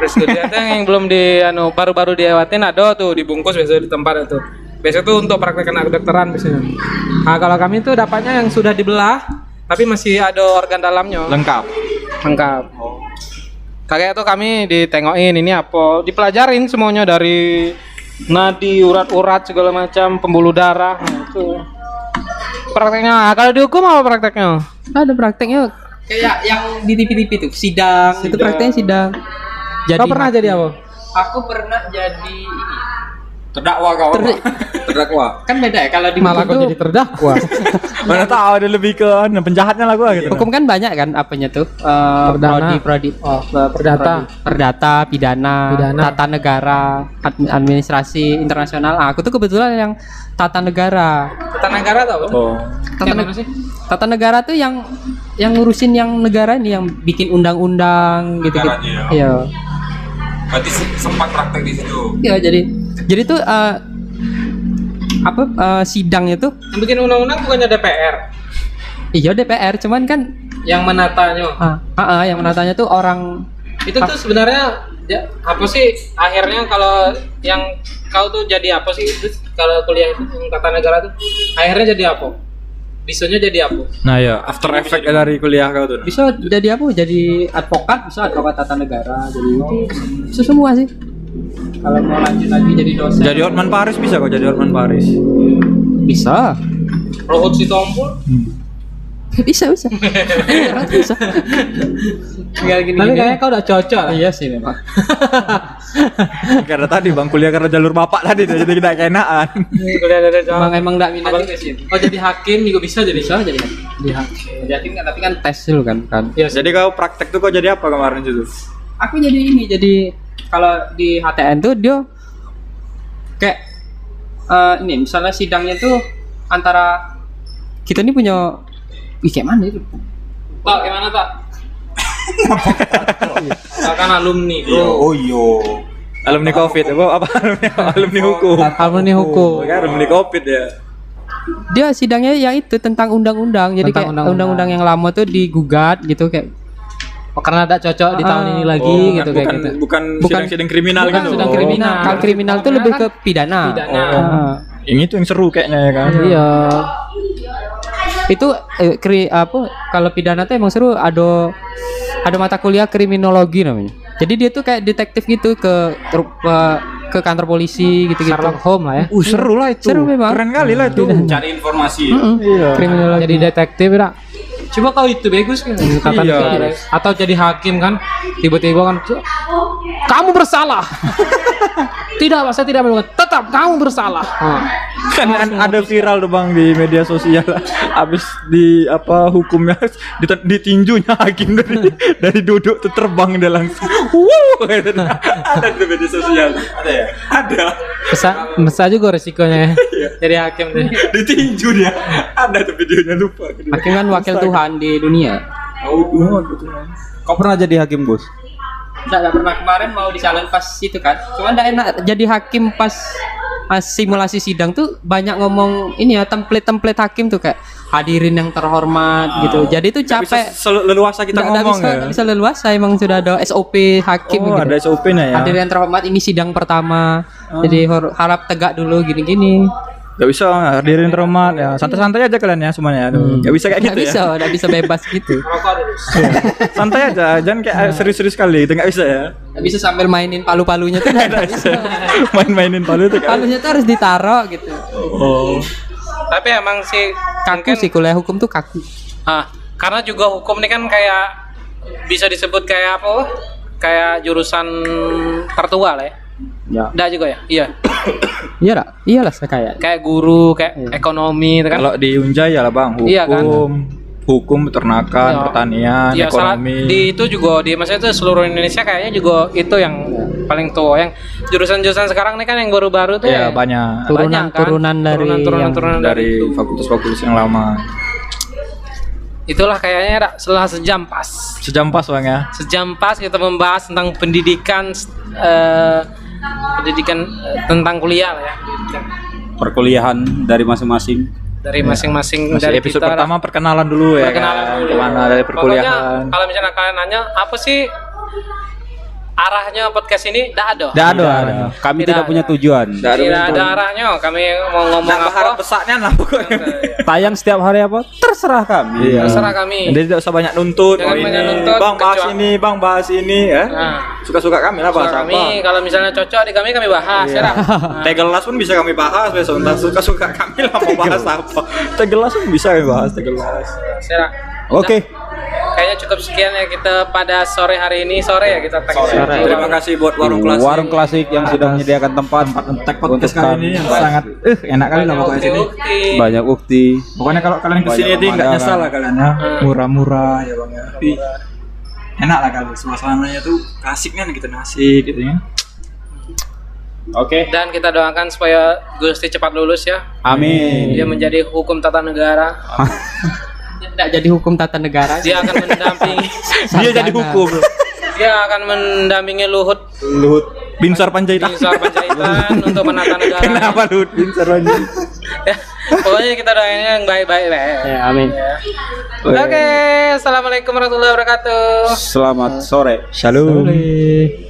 Speaker 3: Fresh graduate yang belum di anu baru-baru diawatin ada tuh dibungkus biasa di tempat itu. Biasanya tuh untuk praktek anak kedokteran biasanya. Nah, kalau kami tuh dapatnya yang sudah dibelah tapi masih ada organ dalamnya
Speaker 9: Lengkap.
Speaker 3: lengkap. Oh. Kayak tuh kami ditengokin ini apa, dipelajarin semuanya dari nadi, urat-urat segala macam, pembuluh darah nah, itu. Prakteknya, kalau dihukum apa prakteknya?
Speaker 4: Ada prakteknya kayak yang di TV-TV tuh sidang, itu prakteknya sidang. Jadi
Speaker 3: Kau pernah jadi apa?
Speaker 5: Aku pernah jadi ini.
Speaker 6: Terdakwa kau. Terdakwa.
Speaker 5: Kan beda ya kalau di
Speaker 3: Malah kau jadi terdakwa.
Speaker 9: Mana tahu ada lebih ke nah, penjahatnya lah gua
Speaker 6: Iya.
Speaker 2: Iya,
Speaker 9: gitu.
Speaker 4: Hukum kan banyak kan apanya tuh? Eh,
Speaker 3: Perdana.
Speaker 4: prodi, prodi,
Speaker 3: oh, perdata.
Speaker 4: perdata, pidana,
Speaker 3: Pidana.
Speaker 4: tata negara, admi- administrasi internasional. Ah, aku tuh kebetulan yang tata negara.
Speaker 3: Tata negara tau?
Speaker 6: Oh.
Speaker 4: Tata, neg- tata negara tuh yang yang ngurusin yang negara ini yang bikin undang-undang gitu gitu.
Speaker 6: Negaranya ya.
Speaker 4: Iya.
Speaker 6: Berarti se- sempat praktek di situ.
Speaker 4: Iya, jadi jadi tuh eh, apa eh, sidangnya tuh
Speaker 3: Yang bikin undang-undang bukannya DPR,
Speaker 4: iya DPR cuman kan
Speaker 3: yang menatanya.
Speaker 4: ah, ah, ah, yang menatanya tuh orang
Speaker 3: Itu tuh sebenarnya ya, apa sih akhirnya kalau yang kau tuh jadi apa sih Terus kalau kuliah itu yang tata negara tuh akhirnya jadi apa? Bisunya jadi apa?
Speaker 9: Nah ya, after effect dari kuliah kau tuh.
Speaker 4: bisa jadi apa jadi advokat bisa advokat tata negara jadi itu semua sih
Speaker 3: Kalau mau lanjut lagi jadi dosen.
Speaker 9: Jadi Hotman Paris bisa kok jadi Hotman Paris.
Speaker 4: bisa
Speaker 3: Ruhut Sitompul.
Speaker 4: bisa bisa Orang tuh bisa
Speaker 3: Tapi kayaknya kau udah cocok. lah.
Speaker 4: iya sih memang
Speaker 9: karena tadi bang kuliah karena jalur bapak tadi jadi kita kenaan.
Speaker 3: Kuliah dari jauh.
Speaker 4: emang emang nggak minat
Speaker 3: Abang- Oh jadi hakim juga bisa jadi
Speaker 4: bisa jadi lihat jadi kan tapi kan tes dulu kan kan
Speaker 9: jadi kau praktek tuh kau jadi apa kemarin itu?
Speaker 4: aku jadi ini jadi kalau di HTN tuh dia kayak eh, ini misalnya sidangnya tuh antara kita nih punya Ih, kayak mana itu?
Speaker 3: Pak, gimana Pak? Akan alumni,
Speaker 6: Yo,
Speaker 3: bro.
Speaker 6: oh yo.
Speaker 9: Alumni Covid apa? apa? Alumni, alumni hukum.
Speaker 3: Alumni hukum.
Speaker 9: Kan alumni Covid ya.
Speaker 4: Dia sidangnya ya itu tentang undang-undang. Jadi
Speaker 3: Tentang
Speaker 4: kayak
Speaker 3: undang-undang.
Speaker 4: undang-undang yang lama tuh digugat gitu kayak
Speaker 3: Oh, karena ada cocok di tahun
Speaker 4: Ah.
Speaker 3: ini lagi
Speaker 9: Oh,
Speaker 3: gitu
Speaker 9: bukan,
Speaker 3: kayak gitu.
Speaker 9: bukan
Speaker 4: Bukan-
Speaker 9: sidang-sidang kriminal
Speaker 4: bukan
Speaker 9: gitu.
Speaker 4: sidang
Speaker 9: Oh.
Speaker 4: kriminal. Kalau Kan kriminal tuh lebih ke pidana.
Speaker 3: Pidana.
Speaker 4: Ah,
Speaker 9: Yang itu yang seru kayaknya ya kan.
Speaker 4: Iya. Itu eh, kri, apa kalau pidana tuh emang seru ada ada mata kuliah kriminologi namanya. Jadi dia tuh kayak detektif gitu ke tru- ke- ke kantor polisi gitu-gitu.
Speaker 3: Sherlock Holmes lah ya.
Speaker 9: Uh, seru
Speaker 2: Iya.
Speaker 9: lah itu.
Speaker 4: Seru memang.
Speaker 9: Keren kali lah itu.
Speaker 2: ya.
Speaker 6: Cari informasi.
Speaker 4: Mm-mm.
Speaker 9: Iya.
Speaker 4: Kriminologi.
Speaker 3: Jadi detektif ya. Coba kalau itu bagus kan kata
Speaker 2: Iya.
Speaker 3: negara. Atau jadi hakim kan tiba-tiba kan kamu bersalah. tidak, saya tidak melakukan. Tetap kamu bersalah.
Speaker 4: Ah.
Speaker 2: kan an- ada viral tuh bang di media sosial abis di apa hukumnya dit- ditinjunya hakim dari dari duduk tuh terbang dia langsung Wuh, gitu.
Speaker 10: ada di media sosial ada ya ada
Speaker 3: Besar, besar juga
Speaker 4: ya.
Speaker 3: resikonya.
Speaker 4: Iya.
Speaker 3: jadi hakim tuh.
Speaker 10: ditinju dia ada tuh videonya lupa
Speaker 4: Hakim kan wakil Tuhan di dunia.
Speaker 10: oh
Speaker 2: kau pernah jadi hakim bos
Speaker 11: Enggak, enggak pernah kemarin mau dicalon pas itu kan.
Speaker 4: Cuman enggak enak jadi hakim pas pas simulasi sidang tuh banyak ngomong ini ya template-template hakim tuh kayak hadirin yang terhormat gitu. Jadi tuh capek.
Speaker 2: Sel- leluasa Ah. kita
Speaker 4: Nggak- nggak
Speaker 2: ngomong
Speaker 4: bisa, nggak bisa leluasa emang sudah ada SOP hakim
Speaker 2: ya oh
Speaker 4: gitu.
Speaker 2: ada SOP-nya ya Ah.
Speaker 4: Hadirin yang terhormat ini sidang pertama. Jadi hor- harap tegak dulu gini-gini.
Speaker 2: Gak bisa
Speaker 3: Iya.
Speaker 2: hadirin terhormat ya santai-santai aja kalian ya semuanya
Speaker 3: Hmm.
Speaker 2: Aduh, nggak bisa kayak
Speaker 4: Nggak
Speaker 2: gitu
Speaker 4: bisa,
Speaker 2: ya
Speaker 4: nggak bisa bebas gitu.
Speaker 2: santai aja jangan
Speaker 3: Iya.
Speaker 2: kayak serius-serius kali itu nggak bisa ya
Speaker 4: Nggak bisa sambil mainin palu-palunya tuh. nggak bisa.
Speaker 2: main-mainin palu itu kan
Speaker 4: Palunya tuh harus ditaruh gitu.
Speaker 3: Tapi emang sih
Speaker 4: Kaku
Speaker 3: mungkin-
Speaker 4: sih kuliah hukum tuh kaku.
Speaker 3: Ah, karena juga hukum ini kan kayak bisa disebut kayak apa? Kayak jurusan tertua lah ya.
Speaker 2: Ya.
Speaker 3: Nggak juga ya? Iya.
Speaker 4: Iya lah, iyalah saya kayak.
Speaker 3: Kayak guru, kayak
Speaker 4: Iya.
Speaker 3: ekonomi itu kan.
Speaker 2: Kalau di Unjaya lah bang, hukum,
Speaker 3: Iya kan?
Speaker 2: hukum, peternakan,
Speaker 3: Iya.
Speaker 2: pertanian,
Speaker 3: Iya, salah
Speaker 2: ekonomi.
Speaker 3: di itu juga di masa itu seluruh Indonesia kayaknya juga itu yang paling tua yang jurusan-jurusan sekarang ini kan yang baru-baru tuh
Speaker 2: ya
Speaker 3: ya
Speaker 2: banyak
Speaker 3: banyak kan.
Speaker 4: Turunan-turunan dari yang-
Speaker 3: turunan-turunan dari,
Speaker 2: dari fakultas-fakultas yang lama.
Speaker 3: itulah kayaknya Rak, setelah sejam pas
Speaker 2: Sejam pas bang ya.
Speaker 3: sejam pas kita membahas tentang pendidikan eh, pendidikan eh, tentang kuliah lah ya
Speaker 10: perkuliahan dari masing-masing
Speaker 3: dari masing-masing
Speaker 2: Iya. Masih
Speaker 3: dari
Speaker 2: episode
Speaker 3: kita,
Speaker 2: pertama perkenalan dulu ya.
Speaker 3: perkenalan
Speaker 2: kan?
Speaker 3: dulu.
Speaker 2: Kemana dari
Speaker 3: Pokoknya,
Speaker 2: perkuliahan?
Speaker 3: kalau misalnya kalian nanya apa sih arahnya podcast ini tidak ada
Speaker 2: Tidak ada.
Speaker 6: Kami
Speaker 3: Tidak
Speaker 6: tidak,
Speaker 3: ada.
Speaker 6: punya tujuan.
Speaker 3: tidak ada arahnya kami mau ngomong
Speaker 2: Nah,
Speaker 3: apa iya.
Speaker 2: berharap besarnya lah pokoknya.
Speaker 6: Tayang setiap hari apa? Terserah kami.
Speaker 2: Iya.
Speaker 3: terserah kami
Speaker 2: Jadi tidak usah banyak nuntut.
Speaker 3: Jangan
Speaker 2: oh,
Speaker 3: banyak
Speaker 2: ini.
Speaker 3: nuntut,
Speaker 2: bang bahas
Speaker 3: kecuali-
Speaker 2: ini, bang bahas ini, ya.
Speaker 3: Nah.
Speaker 2: Suka-suka kami lah bahas
Speaker 3: Terserah
Speaker 2: apa. Iya.
Speaker 3: kami kalau misalnya cocok di kami kami bahas ya Rak? Nah,
Speaker 2: Tegelas pun bisa kami bahas besok. Entah suka-suka kami lah mau bahas apa. Tegelas pun bisa kami bahas. Tegelas.
Speaker 3: ya, Rak.
Speaker 6: Oke.
Speaker 3: kayaknya cukup sekian ya kita pada sore hari ini sore ya kita tag
Speaker 2: Terima kasih buat warung kelas.
Speaker 6: Warung klasik yang sudah menyediakan tempat
Speaker 2: Tag podcast
Speaker 6: untuk
Speaker 2: kali ini yang sangat eh enak kali lah pokoknya sini.
Speaker 3: Bukti-bukti.
Speaker 6: banyak bukti.
Speaker 2: Pokoknya kalau kalian kesini
Speaker 6: Banyak
Speaker 2: sini nggak
Speaker 6: pemandangan.
Speaker 2: nyesal lah kalian
Speaker 3: Ah.
Speaker 2: ya. Murah-murah ya Bang ya. Tapi enak lah kali suasananya tuh kasih kan kita ngasih gitu ya.
Speaker 10: oke
Speaker 3: dan kita doakan supaya Gusti cepat lulus ya dia
Speaker 6: Amin.
Speaker 3: menjadi hukum tata negara
Speaker 4: Tidak jadi hukum tata negara.
Speaker 3: dia akan mendampingi
Speaker 2: Dia jadi hukum.
Speaker 3: dia akan mendampingi Luhut
Speaker 2: Luhut Binsar Panjaitan.
Speaker 3: Binsar Panjaitan untuk menata negara
Speaker 2: Kenapa Luhut Binsar Panjaitan?
Speaker 3: Ya, pokoknya kita doainnya yang baik-baik lah ya.
Speaker 2: Iya.
Speaker 4: Ya, amin.
Speaker 3: oke assalamualaikum warahmatullahi wabarakatuh
Speaker 6: Selamat sore.
Speaker 2: Shalom.
Speaker 4: Boleh.